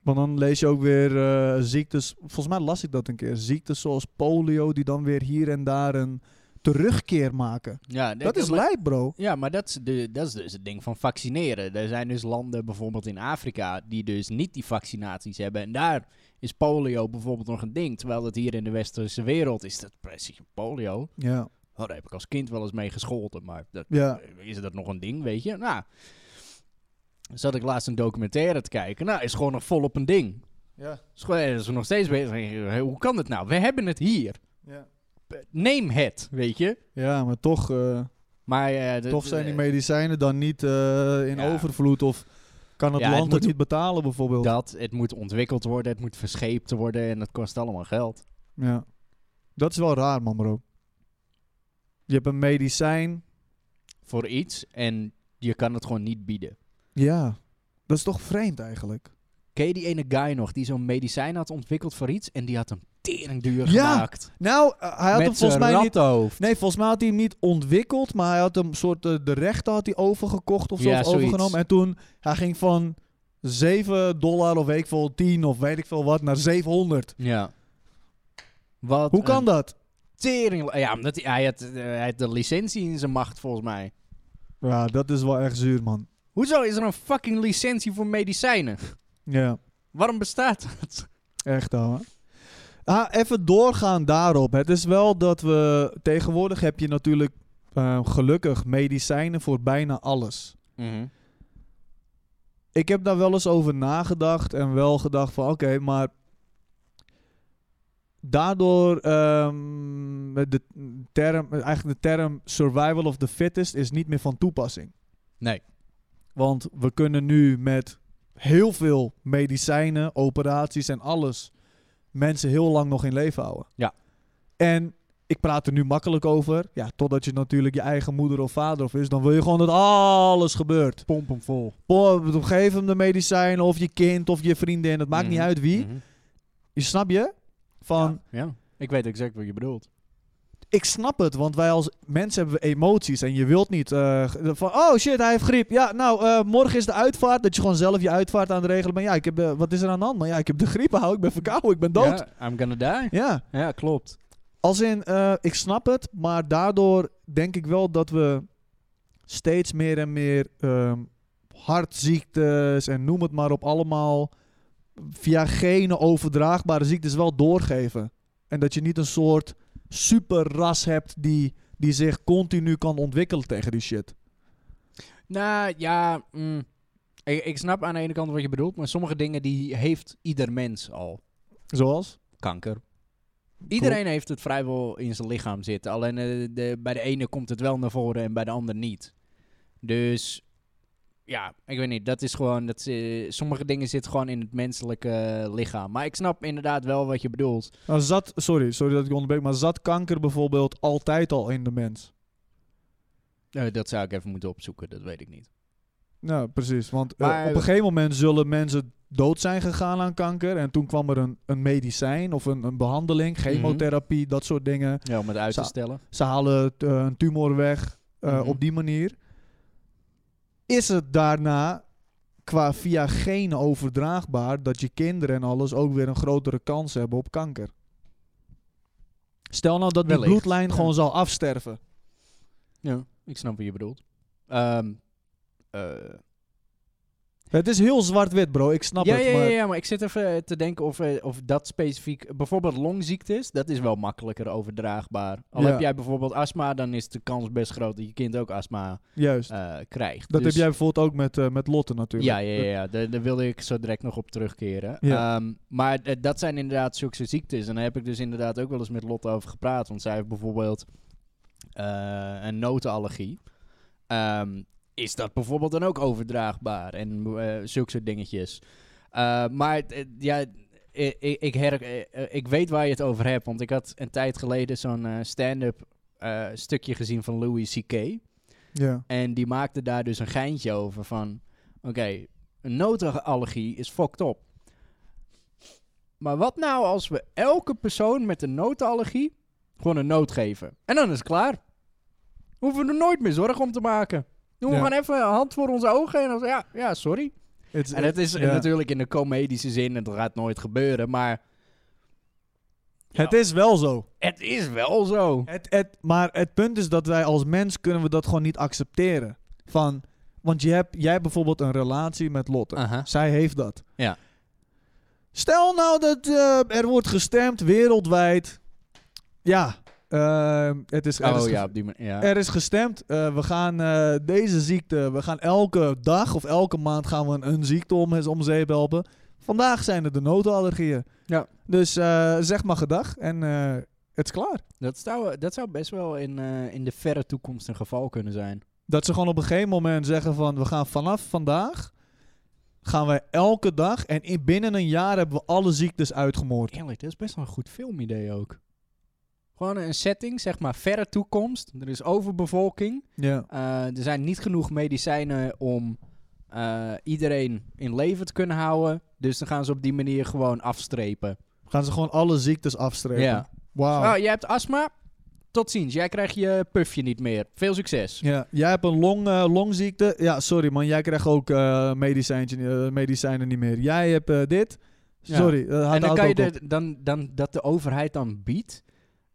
Want dan lees je ook weer eh, ziektes. Volgens mij las ik dat een keer. Ziektes zoals polio, die dan weer hier en daar een
terugkeer maken.
Ja,
Dat is
maar,
lijp, bro.
Ja, maar dat is, de, dat is dus het ding van vaccineren. Er zijn dus landen bijvoorbeeld in Afrika die dus niet die vaccinaties hebben. En daar is polio bijvoorbeeld nog een ding. Terwijl dat hier in de westerse wereld is dat precies polio.
Ja.
Oh, daar heb ik als kind wel eens mee gescholden, maar dat,
Ja.
is dat nog een ding, weet je? Nou, zat ik laatst een documentaire te kijken. Nou, is gewoon nog volop een ding.
Ja.
Is gewoon- eh, Is er nog steeds bezig. Hoe kan dat nou? We hebben het hier.
Ja,
Neem het, weet je?
Ja, maar toch, eh,
Maar eh, dat-
toch zijn die
eh,
medicijnen dan niet eh, in
ja.
overvloed of kan het
Ja, het
land het,
moet-
niet betalen bijvoorbeeld.
dat het moet ontwikkeld worden, het moet verscheept worden en dat kost allemaal geld.
Ja. Dat is wel raar, man, bro. Je hebt een medicijn.
Voor iets en je kan het gewoon niet bieden.
ja. Dat is toch vreemd eigenlijk?
Ken je die ene guy nog die zo'n medicijn had ontwikkeld voor iets en die had hem tering duur
Ja,
gemaakt?
Nou, eh, hij had
Met
hem volgens mij niet...
rattenhoofd.
Nee, volgens mij had hij hem niet ontwikkeld, maar hij had hem soort eh, de rechten had hij overgekocht of zo,
Ja,
of
zoiets.
overgenomen. En toen, hij ging van 7 dollar of weet ik veel, 10 of weet ik veel wat, naar 700.
Ja. Wat
Hoe kan
een
dat?
Tering. Ja, omdat hij, hij had, eh, hij had de licentie in zijn macht, volgens mij.
Ja, dat is wel echt zuur, man.
Hoezo is er een fucking licentie voor medicijnen?
Ja,
Waarom bestaat dat?
echt ouwe. Ah, even doorgaan daarop. Het is wel dat we... Tegenwoordig heb je natuurlijk eh, gelukkig medicijnen voor bijna alles. Mhm. ik heb daar wel eens over nagedacht en wel gedacht van oké, maar daardoor ehm, de term, eigenlijk de term survival of the fittest is niet meer van toepassing.
Nee.
Want we kunnen nu met heel veel medicijnen, operaties en alles mensen heel lang nog in leven houden.
Ja.
En ik praat er nu makkelijk over. Ja, totdat je natuurlijk je eigen moeder of vader of is, dan wil je gewoon dat alles gebeurt.
Pomp hem vol.
Boah, geef hem de medicijnen of je kind of je vriendin. Het maakt
Mhm.
niet uit wie.
Mhm.
Je snap je? Van,
Ja. Ik weet exact wat je bedoelt.
ik snap het, want wij als mensen hebben we emoties. En je wilt niet eh, g- van, oh shit, hij heeft griep. Ja, nou, eh, morgen is de uitvaart. Dat je gewoon zelf je uitvaart aan het regelen bent. Ja, ik heb, eh, wat is er aan de hand? man? ja, ik heb de griep, hou, ik ben verkouden, ik ben dood. Ja.
Ja, I'm gonna die. Ja, klopt.
Als in, eh, ik snap het, maar daardoor denk ik wel dat we steeds meer en meer ehm, hartziektes en noem het maar op allemaal via genen overdraagbare ziektes wel doorgeven. En dat je niet een soort superras hebt die, die zich continu kan ontwikkelen tegen die shit.
Nou, ja... mm. Ik, ik snap aan de ene kant wat je bedoelt, maar sommige dingen die heeft ieder mens al.
Zoals?
kanker. Iedereen heeft het vrijwel in zijn lichaam zitten. Alleen eh, de, bij de ene komt het wel naar voren en bij de ander niet. Dus ja, ik weet niet. Dat is gewoon. Dat, eh, sommige dingen zitten gewoon in het menselijke eh, lichaam. Maar ik snap inderdaad wel wat je bedoelt.
Nou, zat, sorry, sorry dat ik je onderbreek, maar zat kanker bijvoorbeeld altijd al in de mens?
Eh, dat zou ik even moeten opzoeken. Dat weet ik niet.
Nou, precies. Want eh,
Maar-
op een gegeven moment zullen mensen dood zijn gegaan aan kanker. En toen kwam er een, een medicijn of een, een behandeling,
Mhm.
chemotherapie, dat soort dingen.
Ja, om het uit te
Zou-
stellen.
Ze halen het, eh, een tumor weg eh,
Mhm.
op die manier. Is het daarna qua via genen overdraagbaar dat je kinderen en alles ook weer een grotere kans hebben op kanker? Stel nou dat die
Wellicht,
bloedlijn
ja.
gewoon zal afsterven.
Ja, ik snap wat je bedoelt. Ehm, eh,
Het is heel zwart-wit, bro. Ik snap
ja,
het.
ja,
maar...
ja, ja, maar ik zit even eh, te denken of, eh, of dat specifiek... Bijvoorbeeld longziektes, dat is wel makkelijker overdraagbaar. Al
Ja.
heb jij bijvoorbeeld astma, dan is de kans best groot dat je kind ook astma
Juist.
eh, krijgt.
Dat
Dus-
heb jij bijvoorbeeld ook met, eh, met Lotte natuurlijk.
Ja, ja, ja, ja. Daar, daar wilde ik zo direct nog op terugkeren.
Ja.
Ehm, maar d- dat zijn inderdaad zulke ziektes. En daar heb ik dus inderdaad ook wel eens met Lotte over gepraat. Want zij heeft bijvoorbeeld eh, een notenallergie. Ehm, is dat bijvoorbeeld dan ook overdraagbaar? En eh zulke soort dingetjes. Eh, maar eh, ja, ik, ik, her, eh, eh, ik weet waar je het over hebt. Want ik had een tijd geleden zo'n eh, stand-up eh, stukje gezien van Louis C.K.
Ja.
En die maakte daar dus een geintje over van... Oké, een notenallergie is fucked up. Maar wat nou als we elke persoon met een notenallergie gewoon een noot geven? En dan is het klaar. Hoeven we er nooit meer zorgen om te maken. Doen we
Ja.
gewoon even een hand voor onze ogen en dan ja, ja, sorry.
Het is-
En het is
ja.
natuurlijk in de comedische zin, en dat gaat nooit gebeuren, maar...
Het is wel zo.
Het is wel zo.
Het, het, maar het punt is dat wij als mens kunnen we dat gewoon niet accepteren. Van, want je hebt, jij hebt bijvoorbeeld een relatie met Lotte.
Aha.
Zij heeft dat.
Ah. Ja.
Stel nou dat eh, er wordt gestemd wereldwijd. Ja, eh, het is, er, is
Oh
ge-
ja, op die manier. Ja.
er is gestemd. eh, we gaan eh, deze ziekte, we gaan elke dag of elke maand gaan we een, een ziekte om, om zeep helpen. Vandaag zijn het de notenallergieën.
Ja.
Dus eh, zeg maar gedag en eh, het is klaar.
Dat, zou, dat zou best wel in, eh, in de verre toekomst een geval kunnen zijn.
Dat ze gewoon op een gegeven moment zeggen van we gaan vanaf vandaag gaan wij elke dag en in, binnen een jaar hebben we alle ziektes uitgemoord.
Eerlijk, dat is best wel een goed filmidee ook. Gewoon een setting, zeg maar, verre toekomst. Er is overbevolking.
Ja.
Eh, er zijn niet genoeg medicijnen om eh, iedereen in leven te kunnen houden. Dus dan gaan ze op die manier gewoon afstrepen.
Gaan ze gewoon alle ziektes afstrepen.
Ja.
Wauw.
Oh, jij hebt astma? Tot ziens. Jij krijgt je pufje niet meer. Veel succes.
Ja, jij hebt een long, eh, longziekte. Ja, sorry man, jij krijgt ook eh, medicijntje, eh, medicijnen niet meer. Jij hebt eh, dit.
Ja.
Sorry, eh, houdt-
en dan
houdt
kan je
ook op.
de, dan, dan, dat de overheid dan biedt.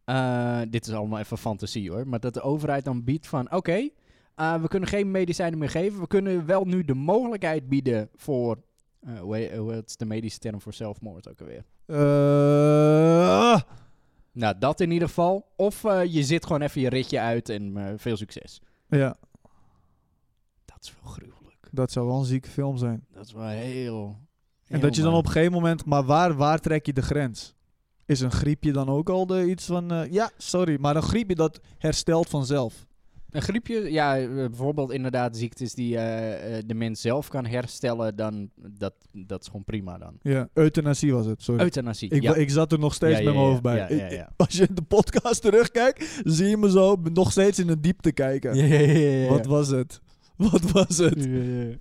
eh, dit is allemaal even fantasie hoor. Maar dat de overheid dan biedt van: oké, eh, we kunnen geen medicijnen meer geven. We kunnen wel nu de mogelijkheid bieden voor. eh, hoe he- hoe is de medische term voor zelfmoord ook alweer?
Eh, ah.
Nou, dat in ieder geval. Of eh, je zit gewoon even je ritje uit en eh, veel succes.
Ja,
Dat is wel gruwelijk.
dat zou wel een zieke film zijn.
Dat is wel heel.
en dat je dan op een gegeven moment, maar waar, waar trek je de grens? Is een griepje dan ook al de, iets van, eh, ja, sorry, maar een griepje dat herstelt vanzelf.
Een griepje, ja, eh, bijvoorbeeld inderdaad ziektes die eh, eh, de mens zelf kan herstellen, dan dat, dat is gewoon prima dan.
Ja. Euthanasie was het, sorry.
Euthanasie.
ik,
ja.
wa- ik zat er nog steeds
Ja, ja,
met mijn
ja,
hoofd bij.
ja, ja,
Ik-
ja.
Als je de podcast terugkijkt, zie je me zo nog steeds in de diepte kijken.
Ja, ja, ja, ja, ja.
Wat was het? Wat was het?
Ja, Oh. ja, ja.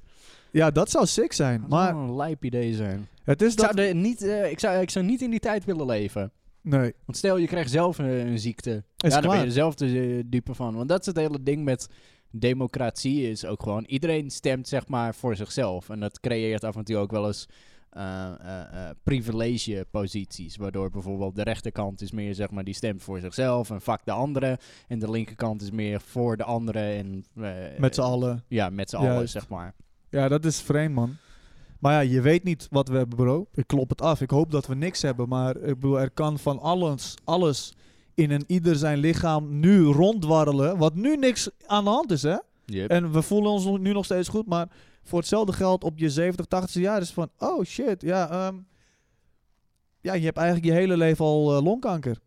Ja, dat zou sick zijn.
Dat zou
Maar
wel een lijp idee zijn.
het is
Ik zou,
dat...
er niet, eh, ik, zou, ik zou niet in die tijd willen leven.
Nee,
Want stel, je krijgt zelf een, een ziekte.
is
ja, dan ben je
klaar.
er zelf de eh, dupe van. Want dat is het hele ding met democratie is ook gewoon... Iedereen stemt zeg maar voor zichzelf. En dat creëert af en toe ook wel eens eh, eh, eh, privilege-posities. Waardoor bijvoorbeeld de rechterkant is meer zeg maar die stemt voor zichzelf... en fuck de anderen. En de linkerkant is meer voor de anderen en... eh,
Met z'n allen.
Ja, met z'n allen
Juist.
zeg maar.
Ja, dat is vreemd, man. Maar ja, je weet niet wat we hebben, bro. Ik klop het af. Ik hoop dat we niks hebben. Maar ik bedoel, er kan van alles, alles in een ieder zijn lichaam nu rondwarrelen. Wat nu niks aan de hand is, hè? En we voelen ons nu nog steeds goed. Maar voor hetzelfde geld op je 70, 80 jaar is het van... Oh shit, ja. ehm, ja, je hebt eigenlijk je hele leven al eh, longkanker.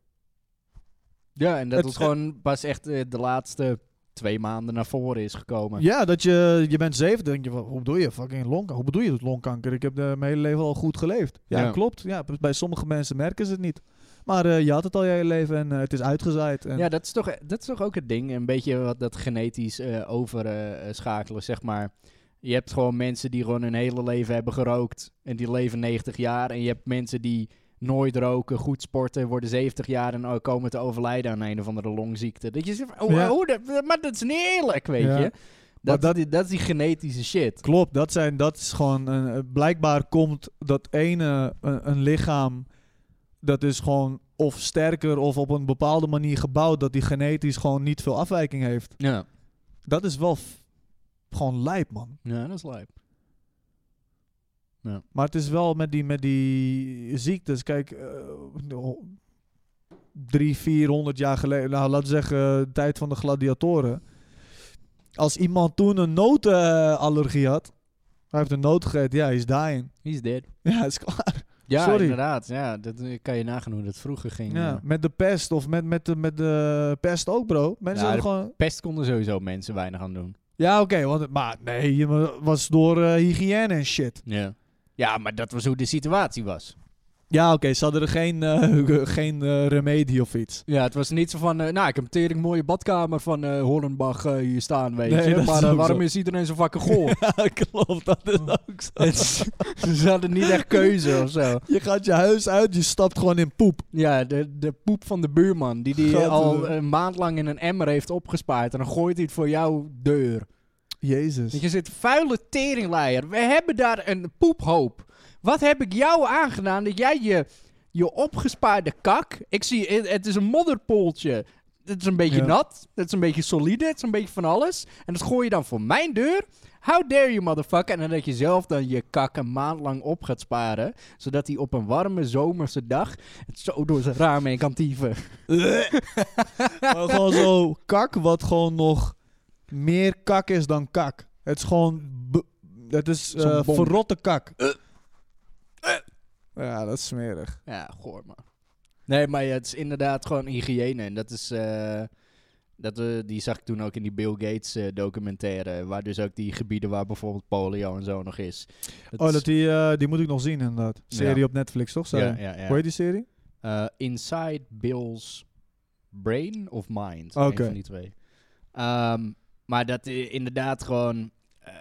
Ja, en dat
Het-
het, gewoon pas echt eh, de laatste twee maanden naar voren is gekomen.
Ja, dat je, je bent 70. denk je, van, hoe bedoel je fucking longkanker? Hoe bedoel je dat longkanker? Ik heb eh, mijn hele leven al goed geleefd. Ja,
Ja.
klopt. Ja, b- bij sommige mensen merken ze het niet. Maar eh, je had het al je hele leven en eh, het is uitgezaaid. En,
Ja, dat is, toch, dat is toch ook het ding. Een beetje wat dat genetisch eh, overschakelen, zeg maar. Je hebt gewoon mensen die gewoon hun hele leven hebben gerookt. En die leven 90 jaar. En je hebt mensen die nooit roken, goed sporten, worden 70 jaar en oh, komen te overlijden aan een of andere longziekte. Dat je zegt, van, oh,
Ja.
oh, dat, maar dat is niet eerlijk, weet
Ja.
je.
Maar
Dat, dat, is, dat is die genetische shit.
Klopt, dat, zijn, dat is gewoon... een- eh, blijkbaar komt dat ene, eh, een, een lichaam... Dat is gewoon of sterker of op een bepaalde manier gebouwd... dat die genetisch gewoon niet veel afwijking heeft.
Ja,
Dat is wel f- gewoon lijp, man.
ja dat is lijp.
Maar het is wel met die, met die ziektes. Kijk, eh, no- drie, vierhonderd jaar geleden. Nou, laten we zeggen, eh, de tijd van de gladiatoren. Als iemand toen een notenallergie had. Hij heeft een noot gegeten. Ja, hij is dying.
He's dead.
Ja, is klaar.
Ja,
Sorry.
inderdaad. Ja, dat eh, kan je nagaan hoe dat vroeger ging.
Ja, met de pest of met, met, de, met de pest ook, bro. Mensen
Ja,
hebben
de-
gewoon...
Pest konden sowieso mensen weinig aan doen.
Ja, oké. want, maar nee, je was door eh, hygiëne en shit.
Ja. Ja, maar dat was hoe de situatie was.
Ja, oké. ze hadden er geen, eh, geen eh, remedie of iets.
Ja, het was niet zo van, eh, nou, ik heb een tering mooie badkamer van eh Hornbach eh, hier staan, weet
Nee,
je.
dat is
Maar eh,
ook
waarom
zo.
is iedereen zo fucking goor?
Ja, klopt. Dat is ook zo.
Het is- Ze hadden niet echt keuze of zo.
Je gaat je huis uit, je stapt gewoon in poep.
Ja, de, de poep van de buurman, die die
Gadver-
al een maand lang in een emmer heeft opgespaard. En dan gooit hij het voor jouw deur.
Jezus.
Dat je zit, vuile teringleier. We hebben daar een poephoop. Wat heb ik jou aangedaan dat jij je je opgespaarde kak. Ik zie, het, het is een modderpoeltje. Het is een beetje
Ja.
nat. Het is een beetje solide. Het is een beetje van alles. En dat gooi je dan voor mijn deur. How dare you, motherfucker. En dan dat je zelf dan je kak een maand lang op gaat sparen. Zodat hij op een warme zomerse dag het zo door zijn raam heen kan dieven.
Maar gewoon zo kak, wat gewoon nog meer kak is dan kak. Het is gewoon. b- Het is
Zo'n
eh,
bom.
verrotte kak. Ja, dat is smerig.
Ja, goor man. Nee, maar ja, het is inderdaad gewoon hygiëne. En dat is. eh, dat, eh, die zag ik toen ook in die Bill Gates eh, documentaire. Waar dus ook die gebieden waar bijvoorbeeld polio en zo nog is.
oh,
is-
dat die, eh, die moet ik nog zien, inderdaad. Serie
Ja.
op Netflix, toch? Zei
Ja,
je?
ja, ja.
Hoe heet die serie?
Eh, Inside Bill's Brain of Mind. Oké.
Oké.
van die twee. Ehm, maar dat i- inderdaad gewoon eh,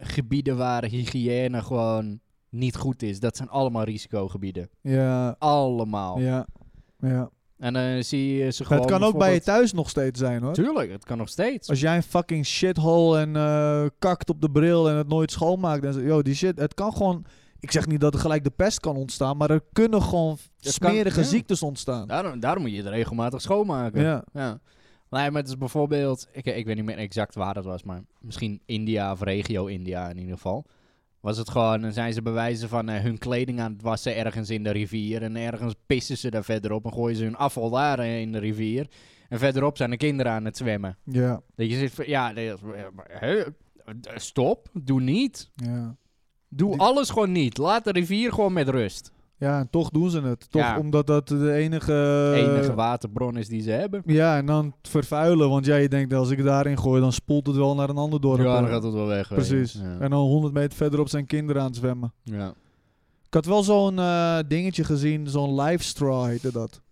gebieden waar hygiëne gewoon niet goed is. Dat zijn allemaal risicogebieden.
Ja.
Allemaal.
Ja. ja.
En dan zie je ze gewoon.
Het kan ook bij je
bijvoorbeeld-
thuis nog steeds zijn, hoor.
Tuurlijk, het kan nog steeds.
Als jij een fucking shithole en eh, kakt op de bril en het nooit schoonmaakt. En zo, yo, die shit, het kan gewoon... Ik zeg niet dat er gelijk de pest kan ontstaan, maar er kunnen gewoon
kan-
smerige
ja.
ziektes ontstaan.
Daarom, daarom moet je het regelmatig schoonmaken. Ja.
Ja.
Nee, maar het is bijvoorbeeld... Ik, ik weet niet meer exact waar dat was, maar misschien India of regio India in ieder geval. Was het gewoon, dan zijn ze bewijzen van eh, hun kleding aan het wassen ergens in de rivier. En ergens pissen ze daar verderop en gooien ze hun afval daar eh, in de rivier. En verderop zijn de kinderen aan het zwemmen.
Ja.
Dat je zit van, ja, nee, dat is- eh, maar, hè? eh, stop, doe niet.
Ja.
Doe
Die-
alles gewoon niet. Laat de rivier gewoon met rust.
Ja, en toch doen ze het. Toch
Ja.
omdat dat de enige... eh,
enige waterbron is die ze hebben.
Ja, en dan het vervuilen. Want jij denkt, als ik daarin gooi, dan spoelt het wel naar een ander dorp.
Ja,
hoor.
dan gaat het wel weg. weet je.
Precies.
Ja.
En dan 100 meter verderop zijn kinderen aan het zwemmen.
Ja.
Ik had wel zo'n eh, dingetje gezien, zo'n live straw heette dat.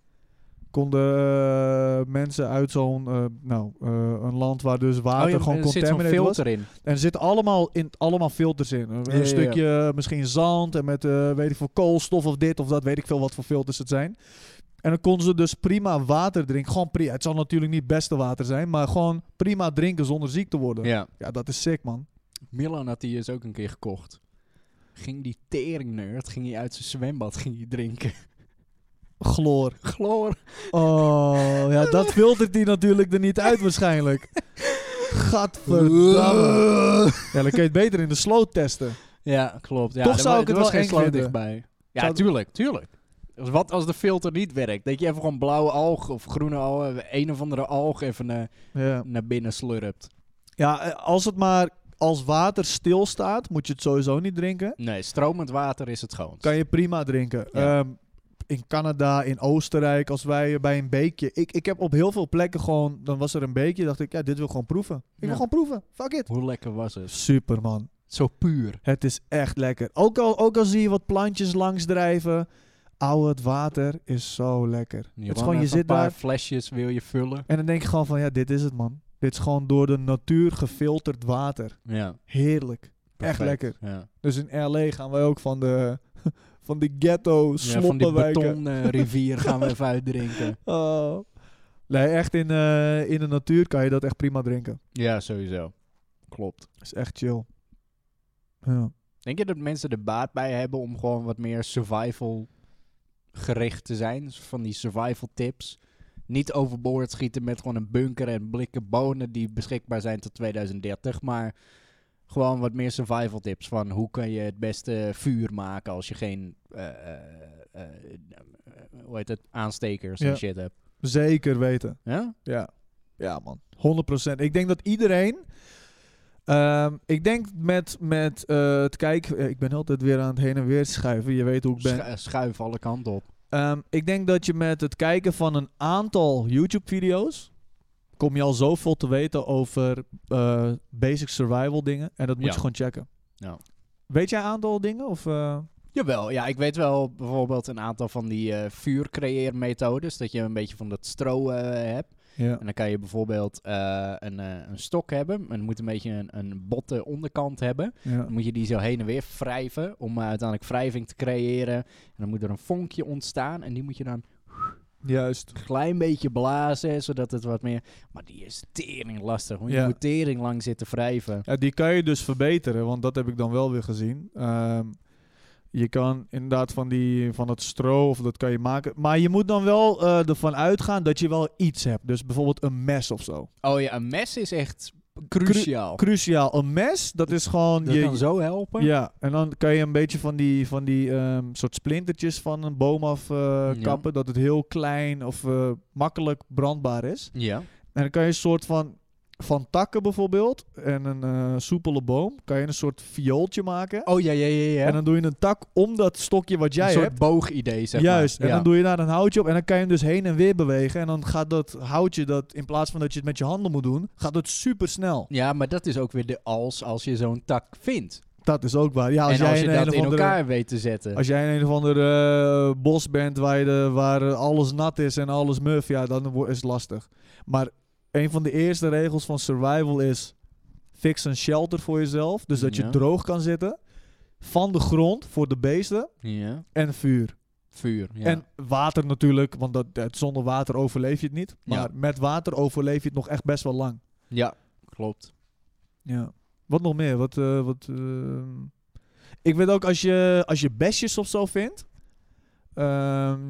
Konden eh, mensen uit zo'n, eh, nou, eh, een land waar dus water
Oh, ja,
gewoon
er zit zo'n
contaminated was.
filter in.
En er zitten allemaal, in, allemaal filters in. Een
Ja, ja, ja.
stukje eh, misschien zand en met eh, weet ik veel koolstof of dit of dat. Weet ik veel wat voor filters het zijn. En dan konden ze dus prima water drinken. Gewoon prima. Het zal natuurlijk niet het beste water zijn. Maar gewoon prima drinken zonder ziek te worden. Ja,
Ja.
dat is sick man.
Milan had die eens ook een keer gekocht. Ging die teringnerd, ging hij uit zijn zwembad ging hij drinken.
Chloor.
Chloor.
Oh, ja dat filtert hij natuurlijk er niet uit waarschijnlijk. Gadverdamme. Ja, dan kun je het beter in de sloot testen.
Ja, klopt. Ja,
Toch
er
zou
wa-
ik
er
het
was
wel
geen
eng
sloot
vinden.
dichtbij. Ja,
Zou-
tuurlijk, tuurlijk. Dus wat als de filter niet werkt? Dat je even gewoon blauwe alg of groene alg, een of andere alg even eh,
Ja.
naar binnen slurpt.
ja, eh, als het maar als water stilstaat, moet je het sowieso niet drinken.
Nee, stromend water is het schoon.
kan je prima drinken.
Ja.
Ehm, in Canada, in Oostenrijk, als wij bij een beekje. Ik, ik heb op heel veel plekken gewoon. Dan was er een beekje. Dacht ik, ja, dit wil ik gewoon proeven. Ik wil
Ja.
gewoon proeven. Fuck it.
Hoe lekker was het?
Super man.
Zo puur.
Het is echt lekker. Ook al, ook al zie je wat plantjes langsdrijven. Oude, het water is zo lekker.
Je
het is
wou
gewoon, je
even
zit
een paar
daar.
flesjes wil je vullen.
En dan denk je gewoon van, ja, dit is het man. Dit is gewoon door de natuur gefilterd water.
Ja,
Heerlijk.
perfect.
lekker.
Ja.
Dus in LA gaan wij ook van de, van de ghetto
Ja, van die
sloppenwijken.
betonrivier gaan we even uitdrinken.
Oh. Nee, echt in, eh, in de natuur kan je dat echt prima drinken.
Ja, sowieso. Klopt.
Is echt chill. Ja.
Denk je dat mensen er baat bij hebben om gewoon wat meer survival gericht te zijn? Van die survival tips. Niet overboord schieten met gewoon een bunker en blikken bonen die beschikbaar zijn tot 2030. Maar gewoon wat meer survival tips van hoe kan je het beste vuur maken als je geen eh, eh, eh, eh, hoe heet het? aanstekers
Ja.
en shit hebt.
Zeker weten.
Ja?
Ja. Ja, man. 100%. Ik denk dat iedereen. ehm, ik denk met, met eh, het kijken. Ik ben altijd weer aan het heen en weer schuiven. Je weet hoe ik ben.
Schu- schuif alle kanten op.
Ehm, ik denk dat je met het kijken van een aantal YouTube-video's. kom je al zoveel te weten over eh, basic survival dingen. En dat moet
Ja.
je gewoon checken.
Ja.
Weet jij een aantal dingen? Of, eh?
Jawel, ja, ik weet wel bijvoorbeeld een aantal van die eh vuurcreëermethodes. Dat je een beetje van dat stro eh, hebt.
Ja.
En dan kan je bijvoorbeeld eh, een, eh, een stok hebben. En het moet een beetje een, een botte onderkant hebben.
ja.
Dan moet je die zo heen en weer wrijven. Om eh, uiteindelijk wrijving te creëren. En dan moet er een vonkje ontstaan. En die moet je dan
Juist.
een klein beetje blazen. Zodat het wat meer. Maar die is tering lastig. Want je
Ja.
moet tering lang zitten wrijven.
Ja, die kan je dus verbeteren, want dat heb ik dan wel weer gezien. Ehm, Je kan inderdaad van, die, van het stro of dat kan je maken. Maar je moet dan wel eh, ervan uitgaan dat je wel iets hebt. Dus bijvoorbeeld een mes of zo.
Oh ja, een mes is echt cruciaal.
Cruciaal. Een mes, dat is gewoon...
dat
je,
kan zo helpen.
ja, en dan kan je een beetje van die, van die ehm, soort splintertjes van een boom af eh, kappen. Dat het heel klein of eh, makkelijk brandbaar is.
Ja.
En dan kan je een soort van... Van takken bijvoorbeeld en een eh, soepele boom kan je een soort viooltje maken.
Oh ja, ja, ja, ja.
En dan doe je een tak om dat stokje wat jij
een soort
hebt.
boogidee, zeg maar.
Juist, en
Ja.
dan doe je daar een houtje op en dan kan je hem dus heen en weer bewegen. En dan gaat dat houtje, dat, in plaats van dat je het met je handen moet doen, gaat het super snel.
Ja, maar dat is ook weer de als als je zo'n tak vindt.
Dat is ook waar. Ja, als
en
jij
als je
in, een
dat
of
in
andere-
elkaar weet te zetten.
Als jij in een of ander eh, bos bent waar, je de, waar eh, alles nat is en alles muf, ja, dan wo- is het lastig. Maar een van de eerste regels van survival is: fix een shelter voor jezelf. Dus dat je
Ja.
droog kan zitten. Van de grond voor de beesten
Ja.
en vuur.
Vuur. Ja.
En water natuurlijk, want dat, dat- zonder water overleef je het niet. Maar
Ja.
met water overleef je het nog echt best wel lang.
ja, klopt.
Ja. Wat nog meer? Wat, eh, wat, ehm, Ik weet ook, als je, als je besjes of zo vindt... ehm,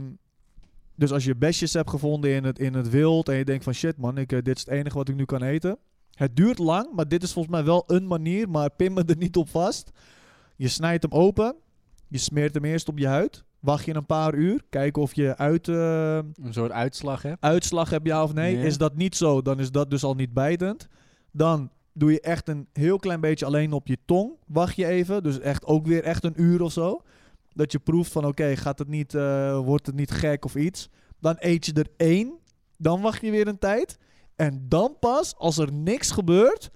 dus als je besjes hebt gevonden in het, in het wild en je denkt van shit man, ik, eh, dit is het enige wat ik nu kan eten. Het duurt lang, maar dit is volgens mij wel een manier, maar pin me er niet op vast. Je snijdt hem open, je smeert hem eerst op je huid. Wacht je een paar uur, kijken of je uit, ehm,
Een soort uitslag, hè?
uitslag heb ja of nee.
Ja.
Is dat niet zo, dan is dat dus al niet bijtend. Dan doe je echt een heel klein beetje alleen op je tong. Wacht je even, dus echt ook weer echt een uur of zo. Dat je proeft van oké, gaat het niet, eh, wordt het niet gek of iets. Dan eet je er één, dan wacht je weer een tijd. En dan pas, als er niks gebeurt,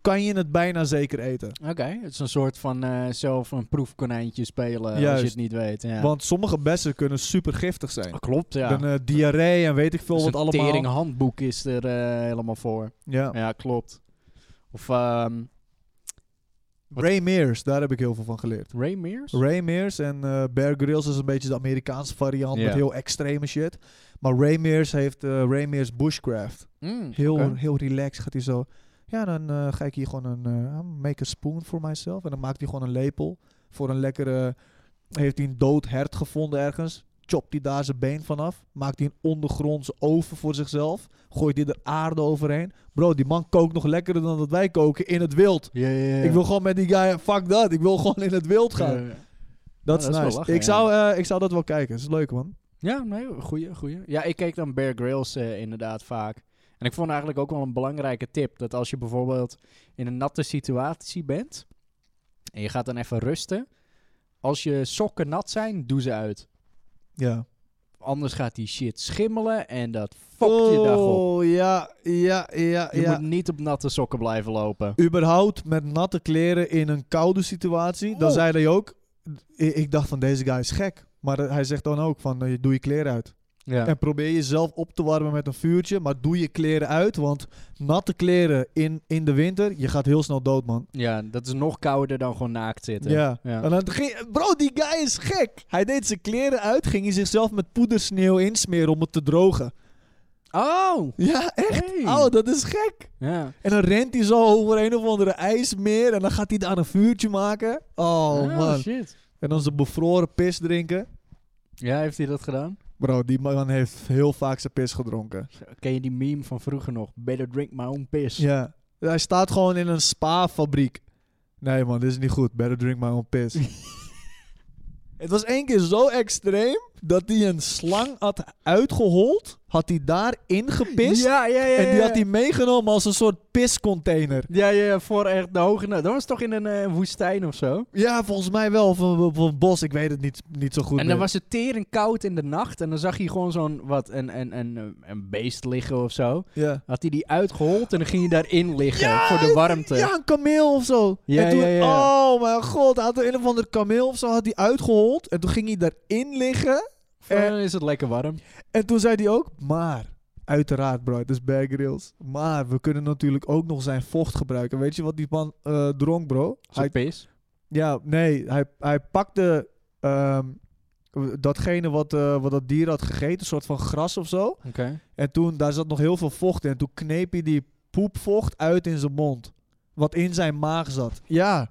kan je het bijna zeker eten.
Oké, het is een soort van eh, zelf een proefkonijntje spelen als
Juist.
je het niet weet. Ja.
Want sommige bessen kunnen super giftig zijn.
Ah, klopt, ja.
Dan eh, diarree en weet ik veel
Dus
wat
een
allemaal.
handboek is er eh, helemaal voor.
Ja.
Ja, klopt. Of ehm, Wat-
Ray Mears, daar heb ik heel veel van geleerd.
Ray Mears?
Ray Mears en eh, Bear Grylls is een beetje de Amerikaanse variant
Ja.
met heel extreme shit. Maar Ray Mears heeft eh Ray Mears Bushcraft.
Mm,
Heel,
oké.
heel relaxed gaat hij zo. Ja, dan eh, ga ik hier gewoon een eh, make a spoon voor mijzelf. En dan maakt hij gewoon een lepel voor een lekkere... Heeft hij een dood hert gevonden ergens. Chopt hij daar zijn been vanaf. Maakt hij een ondergrondse oven voor zichzelf. Gooit hij er aarde overheen. Bro, die man kookt nog lekkerder dan dat wij koken in het wild.
Ja, ja, ja.
Ik wil gewoon met die guy... Fuck dat, ik wil gewoon in het wild gaan.
Ja, ja.
Dat
Ja,
is
dat is wel
nice.
lachen,
ik,
ja.
zou, eh, ik zou dat wel kijken. Dat is leuk, man.
Ja, nee, goeie, goeie. Ja, ik keek dan Bear Grylls eh, inderdaad vaak. En ik vond eigenlijk ook wel een belangrijke tip. Dat als je bijvoorbeeld in een natte situatie bent. En je gaat dan even rusten. Als je sokken nat zijn, doe ze uit.
Ja.
Anders gaat die shit schimmelen en dat fokt je dag op.
Oh, ja, ja, ja,
Je
ja.
moet niet op natte sokken blijven lopen.
Überhaupt met natte kleren in een koude situatie. Dan
Oh.
zei hij ook... Ik, ik dacht van, deze guy is gek. Maar eh, hij zegt dan ook van, eh, doe je kleren uit.
Ja.
En probeer jezelf op te warmen met een vuurtje. Maar doe je kleren uit. Want natte kleren in, in de winter, je gaat heel snel dood, man.
ja, dat is nog kouder dan gewoon naakt zitten.
Ja.
Ja.
En dan ging- bro, die guy is gek. Hij deed zijn kleren uit, ging hij zichzelf met poedersneeuw insmeren om het te drogen.
Oh!
Ja, echt.
Hey.
Oh, dat is gek.
Ja.
En dan rent hij zo over een of andere ijsmeer. En dan gaat hij daar een vuurtje maken. Oh man.
shit.
En dan zijn bevroren pis drinken.
Ja, heeft hij dat gedaan?
Bro, die man heeft heel vaak zijn pis gedronken.
Ken je die meme van vroeger nog? Better drink my own piss.
Ja. Hij staat gewoon in een spa-fabriek. Nee man, dit is niet goed. Better drink my own piss. Het was één keer zo extreem dat hij een slang had uitgehold. Had hij daarin gepist.
Ja, ja, ja.
En die
ja.
had hij meegenomen als een soort piscontainer.
Ja, ja, ja, voor echt de hoge... Dat was toch in een eh, woestijn of zo?
Ja, volgens mij wel. Van, van, van Bos, ik weet het niet, niet zo goed
en
meer.
dan was het tering koud in de nacht. En dan zag je gewoon zo'n, wat, een, een, een, een beest liggen of zo.
Ja.
Had hij die uitgehold en dan ging je daarin liggen voor de warmte.
Ja, een kameel of zo.
Ja,
en toen,
ja, ja.
Oh mijn god, hij had een of ander kameel of zo had hij uitgehold. En toen ging hij daarin liggen.
Voor hen is het lekker warm.
En toen zei hij ook, maar... Uiteraard, bro, het is Bear Grylls. Maar we kunnen natuurlijk ook nog zijn vocht gebruiken. Weet je wat die man eh, dronk, bro? Hij,
Zo'n pis.
ja, nee, hij, hij pakte ehm, datgene wat, eh, wat dat dier had gegeten. Een soort van gras of zo.
Oké.
En toen, daar zat nog heel veel vocht in. En toen kneep hij die poepvocht uit in zijn mond. Wat in zijn maag zat. Ja.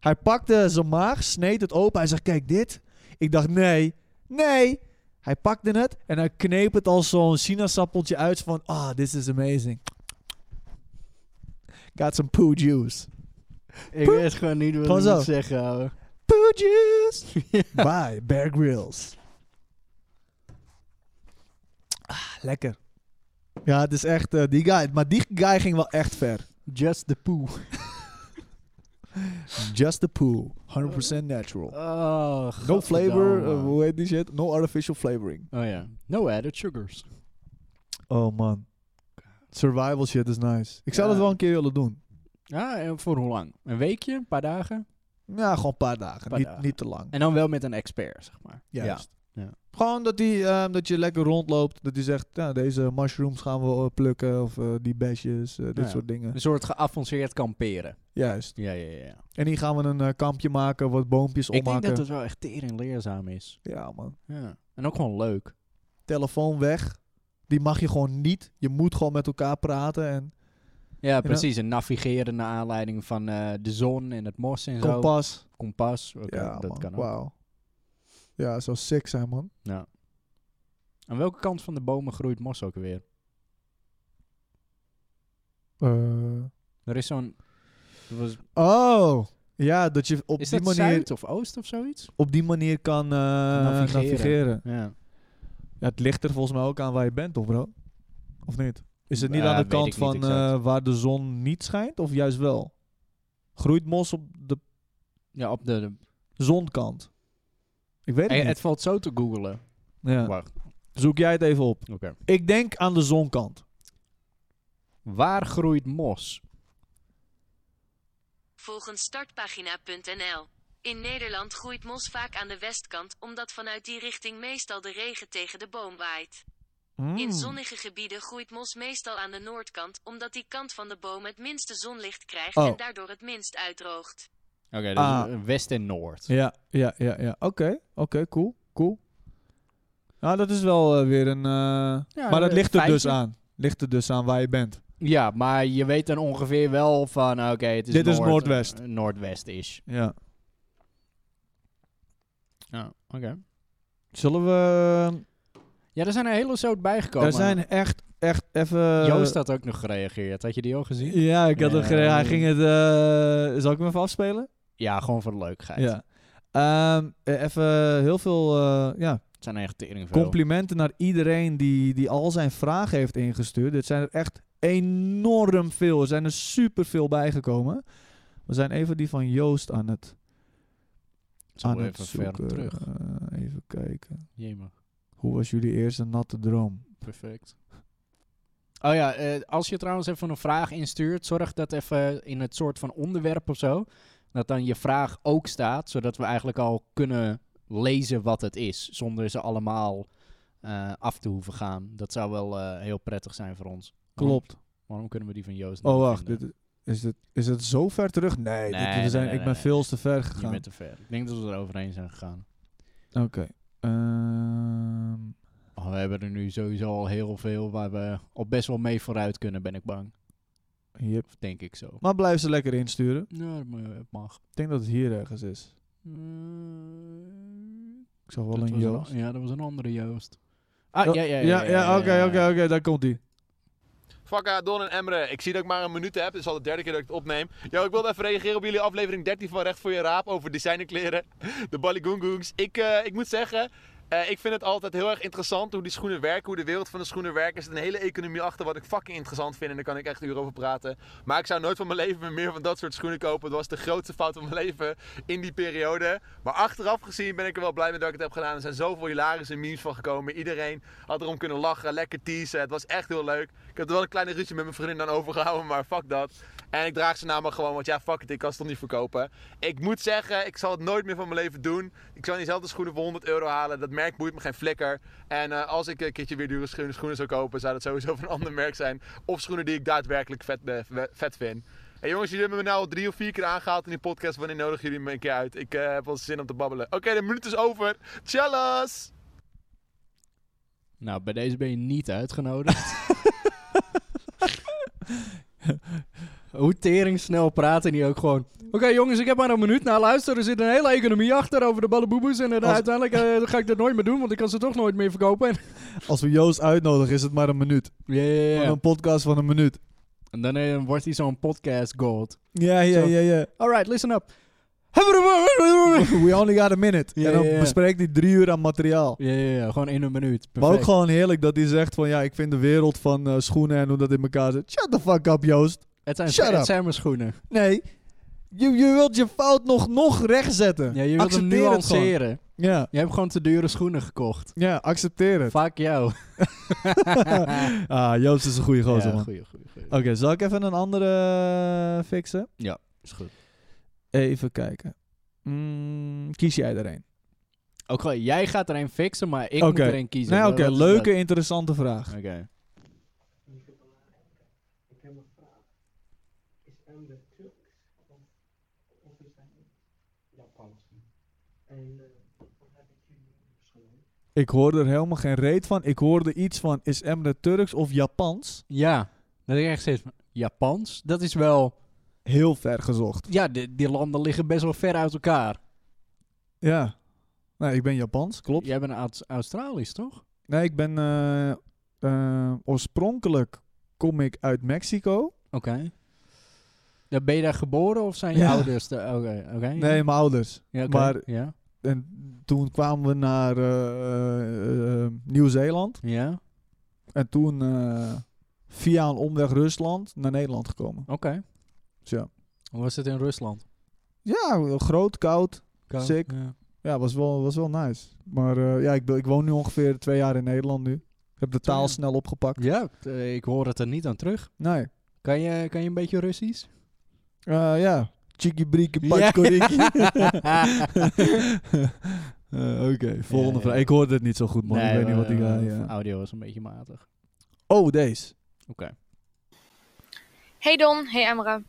Hij pakte zijn maag, sneed het open. Hij zegt, kijk dit. Ik dacht, nee, nee. Hij pakte het en hij kneep het als zo'n sinaasappeltje uit. Van, ah, this is amazing. Got some poo juice.
Ik
Poep.
weet gewoon niet
Gewoon
wat ik
zo.
moet zeggen, ouwe.
Poo juice! Bye, Bear Grylls. Ah, lekker. Ja, het is echt eh, die guy. Maar die guy ging wel echt ver.
Just the poo.
Just the poo. 100% natural.
Oh,
No flavor, eh,
godverdamme.
hoe heet die shit? No artificial flavoring.
oh ja. No added sugars.
Oh man. Survival shit is nice. Ik zou
Ja.
dat wel een keer willen doen.
Ja, Ah, en voor hoe lang? Een weekje? Een paar dagen?
Ja, gewoon een paar dagen.
Paar
niet,
dagen.
niet te lang.
En dan wel met een expert, zeg maar.
Juist.
Ja.
Gewoon dat, die, ehm, dat je lekker rondloopt. Dat hij zegt, ja, deze mushrooms gaan we eh, plukken. Of eh, die besjes, eh, dit
Ja.
soort dingen.
Een soort geavanceerd kamperen.
Juist.
Ja, ja, ja.
En hier gaan we een eh, kampje maken, wat boompjes
Ik denk
omhakken.
dat het wel echt tering leerzaam is.
Ja man.
Ja. En ook gewoon leuk.
Telefoon weg. Die mag je gewoon niet. Je moet gewoon met elkaar praten. En
Ja, precies. En navigeren naar aanleiding van eh, de zon en het mos en zo.
kompas.
Kompas. Oké,
ja,
dat
man.
kan ook.
Wauw. Ja, dat zou sick zijn, man.
Ja. Aan welke kant van de bomen groeit mos ook weer? Er is zo'n... er was-
Eh, oh, ja, dat je op
Is
die
dat
manier,
zuid of oost of zoiets?
op die manier kan eh, navigeren.
Navigeren. Ja.
Ja, het ligt er volgens mij ook aan waar je bent, toch, bro? Of niet? Is het niet
Ja,
aan de
weet
kant
ik niet
van
exact.
eh, waar de zon niet schijnt, of juist wel? Groeit mos op de
Ja, op de... de-
zonkant? Ik weet het
Eh, het
niet.
valt zo te googlen.
Ja.
Wacht,
Zoek jij het even op.
oké.
Ik denk aan de zonkant.
Waar groeit mos?
Volgens startpagina.nl. In Nederland groeit mos vaak aan de westkant, omdat vanuit die richting meestal de regen tegen de boom waait. In
Hmm.
Mm.
zonnige gebieden groeit mos meestal aan de noordkant, omdat die kant van de boom het minste zonlicht krijgt
Oh.
en daardoor het minst uitdoogt.
Oké, dus
Ah.
eh, west en noord.
Ja, ja, ja, ja. Oké, oké, cool, cool. Nou, dat is wel eh, weer een... eh, maar dat
eh,
ligt er dus
feitje.
aan. Ligt er dus aan waar je bent.
Ja, maar je weet dan ongeveer wel van, oké, het is
Dit is
noord,
noordwest.
eh, noordwest is.
Ja.
Ja, oké.
Zullen we...
Ja, er zijn een hele soort bijgekomen.
er zijn echt, echt even...
Joost had ook nog gereageerd. Had je die al gezien?
Ja, ik had hem
Eh,
gereden. Hij ging het... eh, zal ik hem even afspelen?
Ja, gewoon voor de leukheid.
Ja. Ehm, eh, even heel veel eh, ja,
Het zijn echt tering veel.
complimenten naar iedereen die, die al zijn vragen heeft ingestuurd. Dit zijn er echt enorm veel. Er zijn er superveel bijgekomen. We zijn even die van Joost aan het
Zo
aan het
even ver
zoeken.
terug.
Eh, even kijken.
Jemig.
Hoe was jullie eerste natte droom?
Perfect. Oh ja, eh, als je trouwens even een vraag instuurt, zorg dat even in het soort van onderwerp of zo, dat dan je vraag ook staat, zodat we eigenlijk al kunnen lezen wat het is, zonder ze allemaal eh, af te hoeven gaan. Dat zou wel eh, heel prettig zijn voor ons. Waarom,
Klopt.
waarom kunnen we die van Joost
Oh
niet
wacht,
vinden?
dit, is, dit, is het zo ver terug? Nee, dit-
Nee,
dit
nee,
zijn,
nee,
ik
nee,
ben
nee.
veel te ver
Je
gegaan.
bent te ver. Ik denk dat we er overheen zijn gegaan.
Oké. Ehm,
Oh, we hebben er nu sowieso al heel veel waar we al best wel mee vooruit kunnen, ben ik bang.
hier.
Of denk ik zo.
Maar blijf ze lekker insturen.
Nou, dat ma- het mag.
Ik denk dat het hier ergens is.
Eh,
Ik zag wel
Dat
een
was
Joost.
ja, dat was een andere Joost. Ah,
Oh,
ja, ja, ja.
Ja, ja, oké,
ja.
oké, oké, daar komt hij.
Fakka, eh, Don en Emre, ik zie dat ik maar een minuut heb. Dit is al de derde keer dat ik het opneem. Yo, ik wilde even reageren op jullie aflevering 13 van Recht voor je Raap over designerkleren. De Ballygoongoons. Ik, eh, ik moet zeggen, eh, ik vind het altijd heel erg interessant hoe die schoenen werken. Hoe de wereld van de schoenen werkt. Er zit een hele economie achter wat ik fucking interessant vind. En daar kan ik echt uren over praten. Maar ik zou nooit van mijn leven meer van dat soort schoenen kopen. Dat was de grootste fout van mijn leven in die periode. Maar achteraf gezien ben ik er wel blij mee dat ik het heb gedaan. Er zijn zoveel hilarische memes van gekomen. Iedereen had erom kunnen lachen, lekker teasen. Het was echt heel leuk. Ik heb er wel een kleine ruzie met mijn vriendin dan overgehouden, maar fuck dat. En ik draag ze namelijk gewoon, want ja, fuck het, ik kan ze toch niet verkopen. Ik moet zeggen, ik zal het nooit meer van mijn leven doen. Ik zou diezelfde schoenen voor 100 euro halen. Dat merk boeit me geen flikker. En eh, als ik een keertje weer dure schoenen, schoenen zou kopen, zou dat sowieso van een ander merk zijn. Of schoenen die ik daadwerkelijk vet, eh, we- vet vind. Hey jongens, jullie hebben me nou al drie of vier keer aangehaald in die podcast. Wanneer nodig jullie me een keer uit? Ik eh, heb wel zin om te babbelen. Oké, de minuut is over. Tjallas!
Nou, bij deze ben je niet uitgenodigd. Hoe tering snel praten die ook gewoon. Oké jongens, ik heb maar een minuut naar luisteren. Er zit een hele economie achter over de ballenboeboes. En eh,
Als-
uiteindelijk eh, ga ik dat nooit meer doen, want ik kan ze toch nooit meer verkopen. En-
Als we Joost uitnodigen, is het maar een minuut.
Ja, ja, ja.
Gewoon Een podcast van een minuut.
En dan eh, wordt hij zo'n podcast gold.
Ja, ja,
Zo.
ja, ja.
Alright, listen up.
We only got a minute.
Ja,
en dan
ja, ja.
bespreekt hij drie uur aan materiaal.
Ja, ja, ja, gewoon in een minuut.
Maar ook
Perfect.
gewoon heerlijk dat hij zegt van ja, ik vind de wereld van eh, schoenen en hoe dat in elkaar zit. Shut the fuck up, Joost.
Het zijn,
Shut
het
up.
zijn mijn schoenen.
Nee, je, je wilt je fout nog, nog rechtzetten.
Ja, je wilt hem
Accepteer het gewoon.
nuanceren.
Ja,
Je hebt gewoon te dure schoenen gekocht.
ja, accepteer het.
Fuck jou.
ah, Joost is een goede gozer,
ja,
man.
goeie, goeie, goeie.
Oké, zal ik even een andere eh, fixen?
Is goed.
Even kijken. Mm, kies jij er een?
Ook gewoon, jij gaat er een fixen, maar ik
Oké.
moet er een kiezen.
Nou,
Wat-
oké,
wat is
leuke, interessante vraag.
dat? Oké.
Ik hoorde er helemaal geen reet van. Ik hoorde iets van, is Emre Turks of Japans?
Ja, dat ik echt steeds... van, Japans? Dat is wel...
Heel ver gezocht.
Ja, de- die landen liggen best wel ver uit elkaar.
Ja. Nou, ik ben Japans, klopt.
Jij bent Aus- Australisch, toch?
Nee, ik ben... eh, eh, oorspronkelijk kom ik uit Mexico.
Oké. Dan Ben je daar geboren of zijn je
Ja.
ouders... daar- Oké, oké.
Nee, mijn ouders.
ja, oké,
maar-
Ja?
En toen kwamen we naar eh, eh, eh, Nieuw-Zeeland.
Ja? Oké.
En toen eh, via een omweg Rusland naar Nederland gekomen. Dus ja.
Hoe was het in Rusland?
Ja, Nou, groot, koud.
Kou?
Sick.
Ja.
Ja, was wel, was wel nice. Maar eh, ja, ik, be- ik woon nu ongeveer twee jaar in Nederland nu. Ik heb de
Twee
taal
jaar.
snel opgepakt.
Ja, t- eh, ik hoor het er niet aan terug.
Nee.
Kan je, kan je een beetje Russisch?
Eh, ja. Chiki briki
Ja.
patkoriki. Eh, Oké, volgende
Ja, ja.
vraag. Ik hoorde het niet zo goed, man. ik weet niet wat ik...
eh,
eh, ja.
Audio is een beetje matig.
Oh, deze.
Oké.
Hey Don, hey Emre.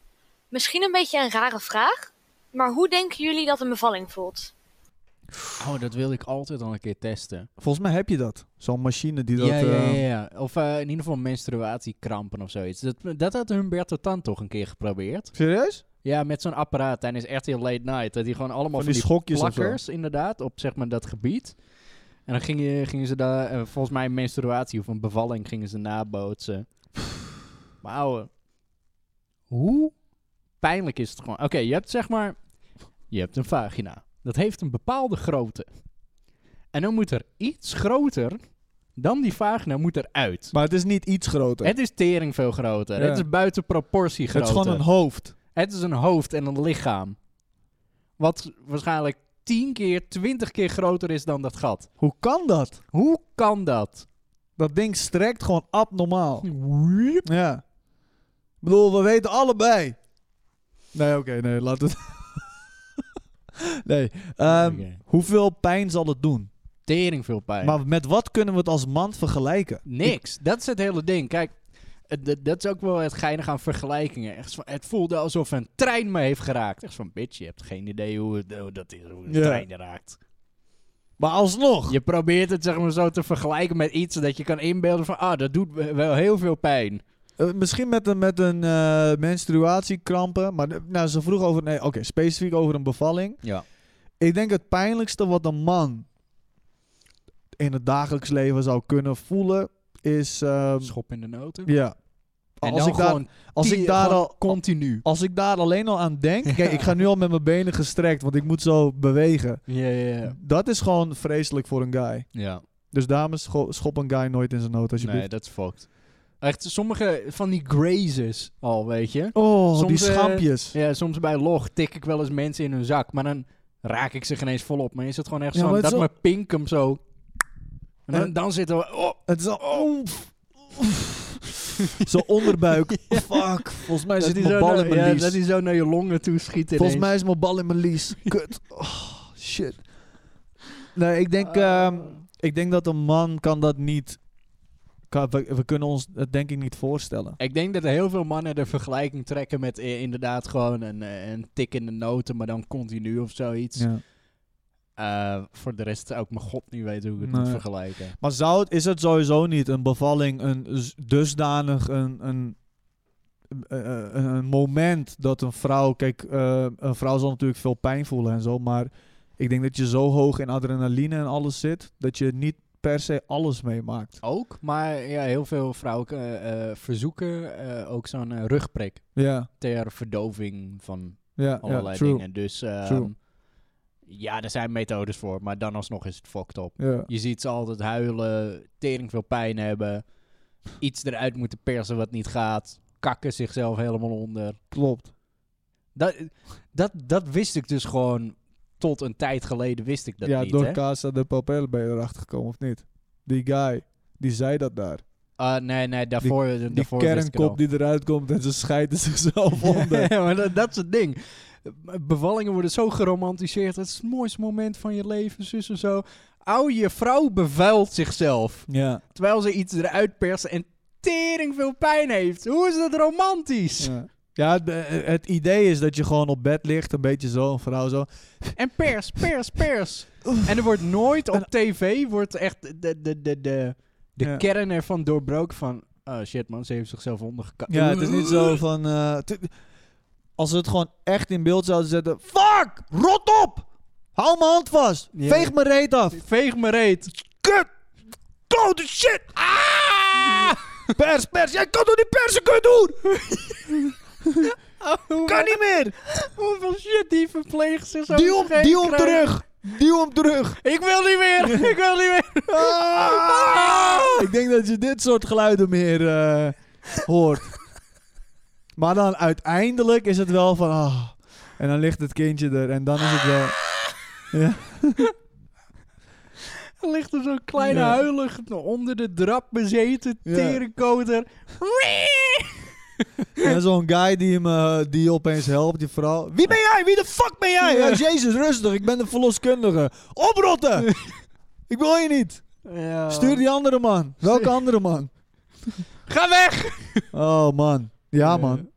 Misschien een beetje een rare vraag, maar hoe denken jullie dat een bevalling voelt?
Oh, dat wil ik altijd al een keer testen.
Volgens mij heb je dat. Zo'n machine die dat...
ja, ja,
eh,
ja, ja. Of eh, in ieder geval menstruatiekrampen of zoiets. Dat, dat had Humberto Tan toch een keer geprobeerd.
Serieus?
Ja, met zo'n apparaat tijdens RTL Late Night. Dat hij gewoon allemaal
Van
van
die
die,
schokjes of zo.
plakkers, inderdaad, op zeg maar dat gebied. En dan gingen, gingen ze daar, eh, volgens mij een menstruatie of een bevalling, gingen ze nabootsen. Maar ouwe, hoe pijnlijk is het gewoon? Oké, je hebt zeg maar, je hebt een vagina. Dat heeft een bepaalde grootte. En dan moet er iets groter dan die vagina moet eruit.
Maar het is niet iets groter.
Het is tering veel groter.
Ja.
Het is buiten proportie
het
groter.
is gewoon een hoofd.
Het is een hoofd en een lichaam. Wat waarschijnlijk 10 keer, 20 keer groter is dan dat gat.
Hoe kan dat?
Hoe kan dat?
Dat ding strekt gewoon abnormaal. Ja. Ik bedoel, we weten allebei. Nee, oké, nee, laat het. nee. ehm,
Oké.
Hoeveel pijn zal het doen?
Tering veel pijn.
Maar met wat kunnen we het als man vergelijken?
Niks. Dat is het hele ding. Kijk, het- dat- dat is ook wel het geinige aan vergelijkingen. Echt, zo- het voelde alsof een trein me heeft geraakt. Echt van, bitch, je hebt geen idee hoe, het- hoe dat is, hoe een
Ja.
trein je raakt.
Maar alsnog.
Je probeert het zeg maar zo te vergelijken met iets dat je kan inbeelden van, ah, dat doet me wel heel veel pijn.
Eh, misschien met een, met een eh, menstruatiekrampen. Maar de- nou, ze vroeg over. Nee, oké, specifiek over een bevalling.
Ja.
Ik denk het pijnlijkste wat een man in het dagelijks leven zou kunnen voelen is. ehm,
Schop in de noten.
ja.
En
als
dan
ik daar,
gewoon,
als
die-
ik daar
gewoon
al.
Continu.
Als ik daar alleen al aan denk. Kijk, ik ga nu al met mijn benen gestrekt, want ik moet zo bewegen.
Ja, ja, ja.
Dat is gewoon vreselijk voor een guy.
Ja,
Dus dames, scho- schop een guy nooit in zijn nood alsjeblieft.
nee, dat is fucked. Echt, sommige van die grazes al, weet je.
Oh,
Soms,
die
eh,
schampjes.
Ja, soms bij log tik ik wel eens mensen in hun zak, maar dan raak ik ze geen eens volop. Maar is het gewoon echt
Ja,
zo
maar het
dat
is wel-
mijn pink hem zo... En dan,
Eh.
dan zitten we... Oh,
Het is al... Oef. Oef. Zo onderbuik. Fuck. Volgens mij
dat
zit
hij
mijn
zo
bal
naar-
in mijn
ja,
lies.
dat hij zo naar je longen toe schiet
Volgens
ineens.
mij is mijn bal in mijn lies. Kut. Oh, shit. Nee, ik
Ah.
denk, ehm, ik denk dat een man kan dat niet... Kan, we, we kunnen ons dat denk ik niet voorstellen.
Ik denk dat heel veel mannen de vergelijking trekken met eh, inderdaad gewoon een, eh, een tik in de noten, maar dan continu of zoiets.
Ja.
Eh, voor de rest zou ik mijn god niet weten hoe ik het moet
Nee.
vergelijken.
Maar zou het, is het sowieso niet een bevalling, een z- dusdanig, een, een eh, eh, een moment dat een vrouw... Kijk, eh, een vrouw zal natuurlijk veel pijn voelen en zo. Maar ik denk dat je zo hoog in adrenaline en alles zit... dat je niet per se alles meemaakt.
Ook, maar ja, heel veel vrouwen eh, eh, verzoeken eh, ook zo'n eh, rugprik
Ja,
ter verdoving van
ja, ja
allerlei
true.
dingen. Dus ehm,
True.
ja, er zijn methodes voor, maar dan alsnog is het fucked up.
Ja.
Je ziet ze altijd huilen, tering veel pijn hebben, iets eruit moeten persen wat niet gaat, kakken zichzelf helemaal onder.
Klopt.
Dat, dat, dat wist ik dus gewoon tot een tijd geleden wist ik dat
ja,
niet.
door
hè?
Casa de Papel ben je erachter gekomen, of niet? Die guy, die zei dat daar.
Ah, nee, nee, daarvoor,
Die
daarvoor wist ik het al.
kernkop die eruit komt en ze scheiden zichzelf onder.
Ja, maar dat, dat is het ding. Bevallingen worden zo geromantiseerd. Het is het mooiste moment van je leven, zus en zo. Ou, je vrouw bevuilt zichzelf.
Ja,
Terwijl ze iets eruit perst en tering veel pijn heeft. Hoe is dat romantisch?
ja. ja de- het idee is dat je gewoon op bed ligt, een beetje zo, een vrouw zo.
En pers, pers, pers. en er wordt nooit op tv, wordt echt de, de, de, de, de
Ja.
kern ervan doorbroken van... Oh shit man, ze heeft zichzelf ondergekakt.
Ja, het is niet zo van... eh, t- als ze het gewoon echt in beeld zouden zetten... Fuck! Rot op! Hou mijn hand vast!
Ja.
Veeg mijn reet af!
Veeg me reet.
Kut! Koude shit! Ah! Pers, pers! Jij kan toch niet persen, kut doen! Kan niet meer!
Hoeveel shit die verpleegsters zo
Duw hem, duw hem terug! Duw hem terug!
Ik wil niet meer! ik wil niet meer!
Ah! Ik denk dat je dit soort geluiden meer eh, hoort. Maar dan uiteindelijk is het wel van... ah. en dan ligt het kindje er en dan is het wel... Ja.
Er ligt er zo'n kleine
Ja.
huilig onder de drap bezeten
Ja.
terenkoter.
En zo'n guy die hem eh, die je opeens helpt, die vrouw. Wie ben jij? Wie de fuck ben jij? Ja, Jezus, rustig, ik ben de verloskundige. Oprotten! ik wil je niet.
Ja.
Stuur die andere man. Welke andere man?
Ga weg!
Oh man. Ja man.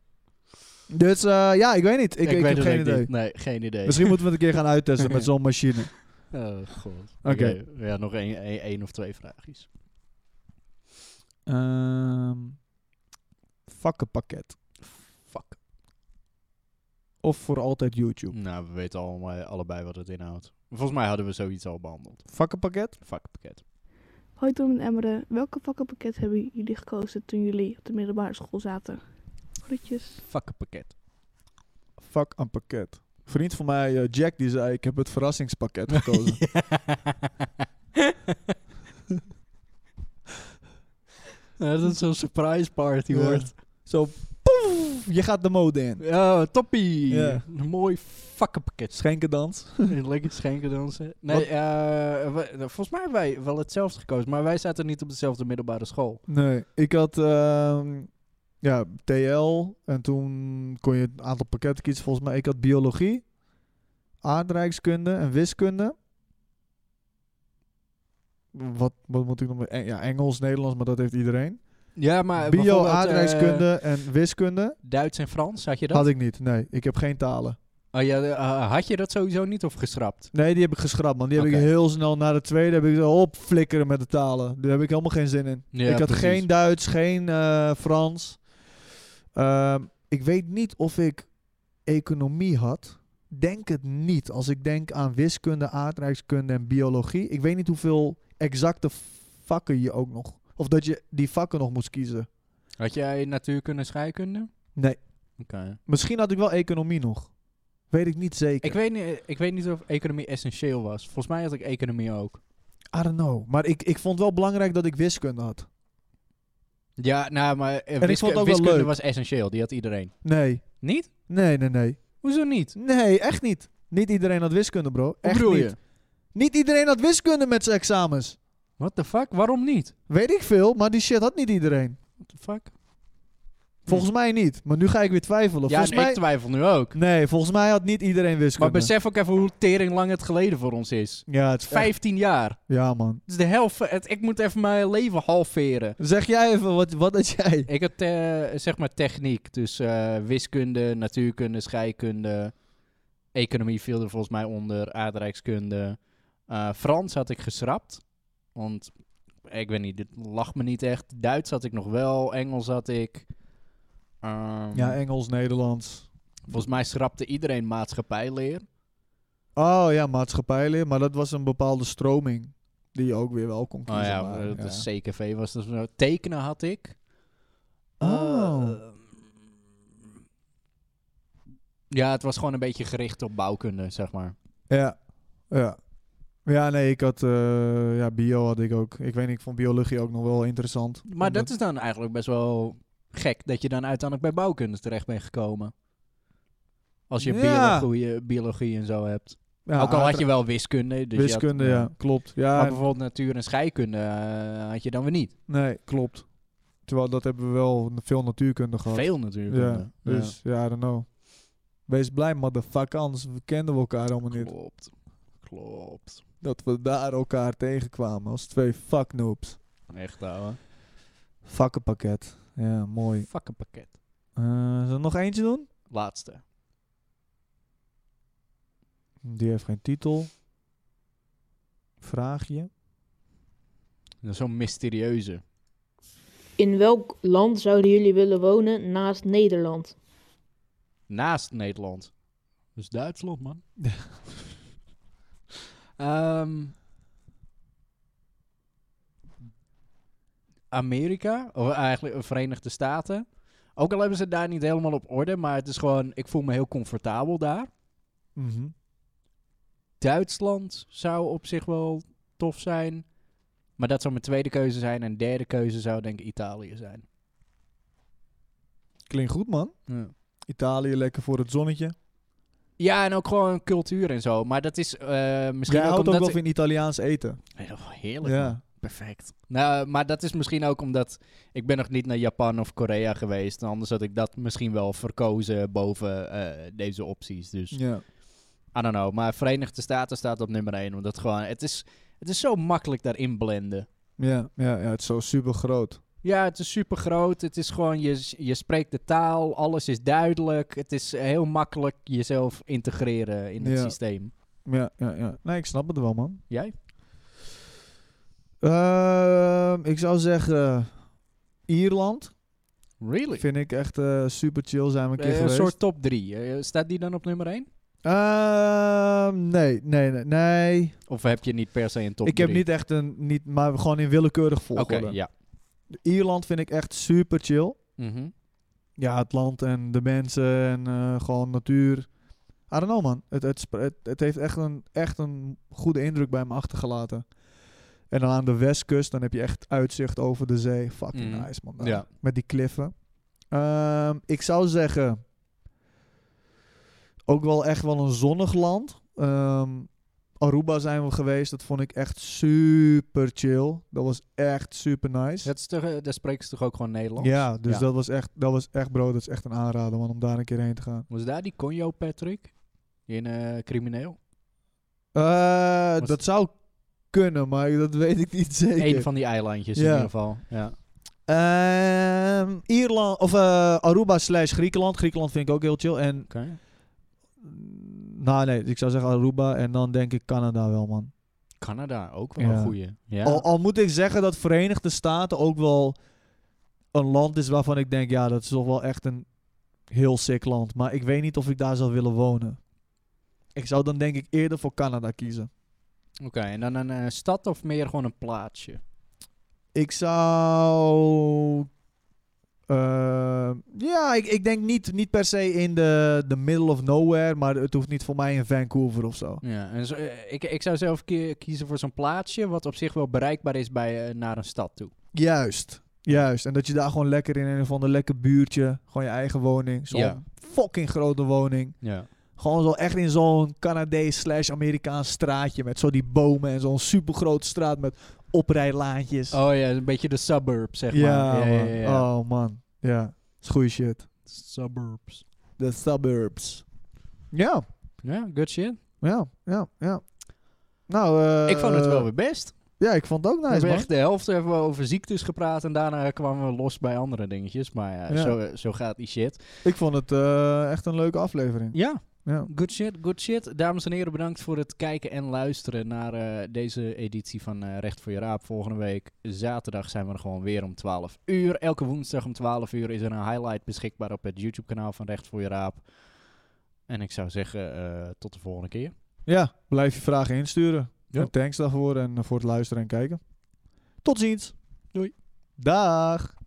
Dus eh, ja, ik weet niet. Ik, ik, heb
het
geen
ook
idee.
niet. Nee, geen idee.
Misschien moeten we het een keer gaan uittesten met zo'n machine.
Oh god.
Oké.
Ja, nog één, één, één of twee vraagjes.
Ehm vakkenpakket.
Fuck.
Of voor altijd YouTube.
Nou, we weten allemaal, allebei wat het inhoudt. Volgens mij hadden we zoiets al behandeld.
Vakkenpakket?
Vakpakket.
Hoi Tom en Emmeren, welke vakkenpakket hebben jullie gekozen toen jullie op de middelbare school zaten? Groetjes.
Vakkenpakket.
Vak aan pakket. Vriend van mij, eh, Jack, die zei: Ik heb het verrassingspakket gekozen.
Ja, dat is zo'n surprise party
Ja.
hoort.
Zo, poef, je gaat de mode in.
Ja, toppie.
Ja.
Een mooi vakkenpakket.
Schenkendans.
Lekker schenken dansen. Nee, eh, we- volgens mij hebben wij wel hetzelfde gekozen. Maar wij zaten niet op dezelfde middelbare school.
Nee, ik had ehm, ja, TL en toen kon je een aantal pakketten kiezen. Volgens mij, ik had biologie, aardrijkskunde en wiskunde. Wat, wat moet ik nog meer? Eng- Ja, Engels, Nederlands, maar dat heeft iedereen.
Ja, maar
Bio,
bijvoorbeeld, eh,
aardrijkskunde en wiskunde
Duits en Frans, had je dat?
had ik niet. Nee, ik heb geen talen.
Oh, ja, eh, had je dat sowieso niet of geschrapt?
Nee, die heb ik geschrapt, man. Die heb
Oké.
ik heel snel na de tweede heb ik zo opflikkeren met de talen. Daar heb ik helemaal geen zin in.
Ja,
ik had
precies.
geen Duits, geen eh, Frans. Ehm, ik weet niet of ik economie had. Denk het niet. Als ik denk aan wiskunde, aardrijkskunde en biologie. Ik weet niet hoeveel exacte vakken je ook nog... Of dat je die vakken nog moest kiezen.
Had jij natuurkunde, scheikunde?
Nee.
Oké.
Misschien had ik wel economie nog. Weet ik niet zeker.
Ik, weet niet, ik weet niet of economie essentieel was. Volgens mij had ik economie ook.
I don't know. Maar ik, ik vond wel belangrijk dat ik wiskunde had.
Ja, nou, maar eh,
vond
wisku-
het ook wel
wiskunde
leuk.
was essentieel. Die had iedereen.
Nee.
Niet?
Nee, nee, nee.
Hoezo niet?
Nee, echt niet. Niet iedereen had wiskunde, bro.
Hoe
Echt
bedoel
niet.
je?
Niet iedereen had wiskunde met zijn examens.
What the fuck? Waarom niet?
Weet ik veel, maar die shit had niet iedereen.
What the fuck?
Volgens mij niet. Maar nu ga ik weer twijfelen.
ja,
volgens
en
mij...
ik twijfel nu ook.
Nee, volgens mij had niet iedereen wiskunde.
Maar besef ook even hoe tering lang het geleden voor ons is.
Ja, het is echt-
15 jaar.
Ja, man.
Het is de helft. van Het, ik moet even mijn leven halveren.
Zeg jij even, wat, wat had jij?
Ik had eh, zeg maar techniek. Dus eh, wiskunde, natuurkunde, scheikunde. Economie viel er volgens mij onder. Aardrijkskunde. Eh, Frans had ik geschrapt. Want ik weet niet, dit lag me niet echt. Duits had ik nog wel. Engels had ik. Ehm,
Ja, Engels, Nederlands.
volgens mij schrapte iedereen maatschappijleer.
Oh ja, maatschappijleer. Maar dat was een bepaalde stroming. Die je ook weer wel kon
Oh
kiezen.
ja,
maar,
eh,
ja.
de CKV was dat. zo. Tekenen had ik.
Oh.
Eh, ja, het was gewoon een beetje gericht op bouwkunde, zeg maar.
Ja, ja. Ja, nee, ik had... eh, ja, bio had ik ook. Ik weet niet, ik vond biologie ook nog wel interessant.
Maar
Omdat-
dat is dan eigenlijk best wel gek dat je dan uiteindelijk bij bouwkunde terecht bent gekomen. Als je
Ja.
biologie, biologie en zo hebt.
Ja,
Ook al had
uiteraard-
je wel wiskunde. Dus je had-
Wiskunde, ja. Klopt.
Maar
Ja,
bijvoorbeeld natuur en scheikunde eh, had je dan weer niet.
nee, klopt. Terwijl dat hebben we wel veel natuurkunde gehad.
Veel natuurlijk.
Ja, dus ja, I don't know. Wees blij, motherfucker, anders kenden we elkaar allemaal niet.
Klopt. Klopt.
Dat we daar elkaar tegenkwamen als twee fucknoobs.
Echt ouwe.
Vakkenpakket. Ja, mooi.
Fucking pakket.
Eh zullen we nog eentje doen?
Laatste.
Die heeft geen titel. Vraagje.
Dat is Zo'n mysterieuze.
In welk land zouden jullie willen wonen naast Nederland?
Naast Nederland. Dus Duitsland, man. Ehm, Amerika, of eigenlijk de Verenigde Staten. Ook al hebben ze het daar niet helemaal op orde, maar het is gewoon, ik voel me heel comfortabel daar.
Mhm.
Duitsland zou op zich wel tof zijn. Maar dat zou mijn tweede keuze zijn. En derde keuze zou denk ik Italië zijn.
Klinkt goed, man.
Ja.
Italië lekker voor het zonnetje.
Ja, en ook gewoon cultuur en zo. Maar dat is eh, misschien
Jij
ook
houdt ook
omdat...
wel van Italiaans eten.
Heel heerlijk. man.
Ja.
Perfect. Nou, maar dat is misschien ook omdat... Ik ben nog niet naar Japan of Korea geweest. Anders had ik dat misschien wel verkozen boven eh, deze opties. Dus,
ja.
I don't know. Maar Verenigde Staten staat op nummer 1. Omdat gewoon... Het is, het is zo makkelijk daarin blenden.
Ja, ja, ja, het is zo super groot.
Ja, het is super groot. Het is gewoon, je, je spreekt de taal, alles is duidelijk. Het is heel makkelijk jezelf integreren in het
Ja.
systeem.
Ja, ja, ja. Nee, ik snap het wel, man.
Jij?
Ehm, ik zou zeggen Ierland.
Really?
Vind ik echt eh, super chill zijn we Eh, een keer
een
geweest.
soort top 3.
Eh,
staat die dan op nummer 1?
Ehm, nee, nee, nee. nee.
Of heb je niet per se een top 3?
ik heb niet echt een, niet, maar gewoon in willekeurig
Oké,
volgorde.
ja.
Ierland vind ik echt super chill.
Mhm.
Ja, het land en de mensen en eh, gewoon natuur. I don't know man. Het, het, spre- het, het heeft echt een, echt een goede indruk bij me achtergelaten. En dan aan de westkust, dan heb je echt uitzicht over de zee. Fucking
Mhm.
nice man. daar.
Ja.
Met die kliffen. Ehm, ik zou zeggen... Ook wel echt wel een zonnig land. Ehm, Aruba zijn we geweest. Dat vond ik echt super chill. Dat was echt super nice.
Dat is toch, eh, daar spreken ze toch ook gewoon Nederlands?
Ja, dus
Ja.
Dat, was echt, dat was echt, bro, dat is echt een aanrader, man, om daar een keer heen te gaan.
Was daar die Conjo Patrick? In eh, Crimineel?
Eh,
Was-
dat zou kunnen, maar dat weet ik niet zeker.
Eén van die eilandjes in
Ja.
ieder geval. Ja.
Ehm, Ierland, of eh, Aruba slash Griekenland. Griekenland vind ik ook heel chill. En,
Oké.
mm, nou nee, ik zou zeggen Aruba en dan denk ik Canada wel, man.
Canada, ook wel een
Ja.
goeie. Ja.
Al, al moet ik zeggen dat Verenigde Staten ook wel een land is waarvan ik denk, ja, dat is toch wel echt een heel sick land. Maar ik weet niet of ik daar zou willen wonen. Ik zou dan denk ik eerder voor Canada kiezen.
Oké, en dan een eh, stad of meer gewoon een plaatsje?
Ik zou. eh, ja, ik, ik denk niet, niet per se in de, de middle of nowhere, maar het hoeft niet voor mij in Vancouver of zo.
Ja, en zo- eh, ik, ik zou zelf kie- kiezen voor zo'n plaatsje wat op zich wel bereikbaar is bij, eh, naar een stad toe.
Juist, juist. En dat je daar gewoon lekker in een of ander lekker buurtje, gewoon je eigen woning, zo'n
Ja.
fucking grote woning.
Ja.
Gewoon zo echt in zo'n Canadees slash Amerikaans straatje met zo die bomen en zo'n supergrote straat met oprijlaantjes.
Oh ja, een beetje de suburbs, zeg
ja,
maar.
man. Oh man, ja. Dat is goeie shit.
Suburbs.
De suburbs. Ja.
Ja, good shit.
Ja, ja, ja. Nou, eh,
ik vond het wel weer best.
Ja, ik vond het ook
nou, We
nice,
hebben
man.
echt de helft hebben we over ziektes gepraat en daarna kwamen we los bij andere dingetjes. Maar ja,
Ja.
Zo, zo gaat die shit.
Ik vond het eh, echt een leuke aflevering.
Ja,
Ja.
Good shit, good shit. Dames en heren, bedankt voor het kijken en luisteren naar eh, deze editie van eh, Recht voor je Raap. Volgende week zaterdag zijn we er gewoon weer om 12 uur. Elke woensdag om 12 uur is er een highlight beschikbaar op het YouTube-kanaal van Recht voor je Raap. En ik zou zeggen, eh, tot de volgende keer.
Ja, blijf je vragen insturen.
Ja.
eh, En thanks daarvoor en voor het luisteren en kijken. Tot ziens.
Doei.
Dag.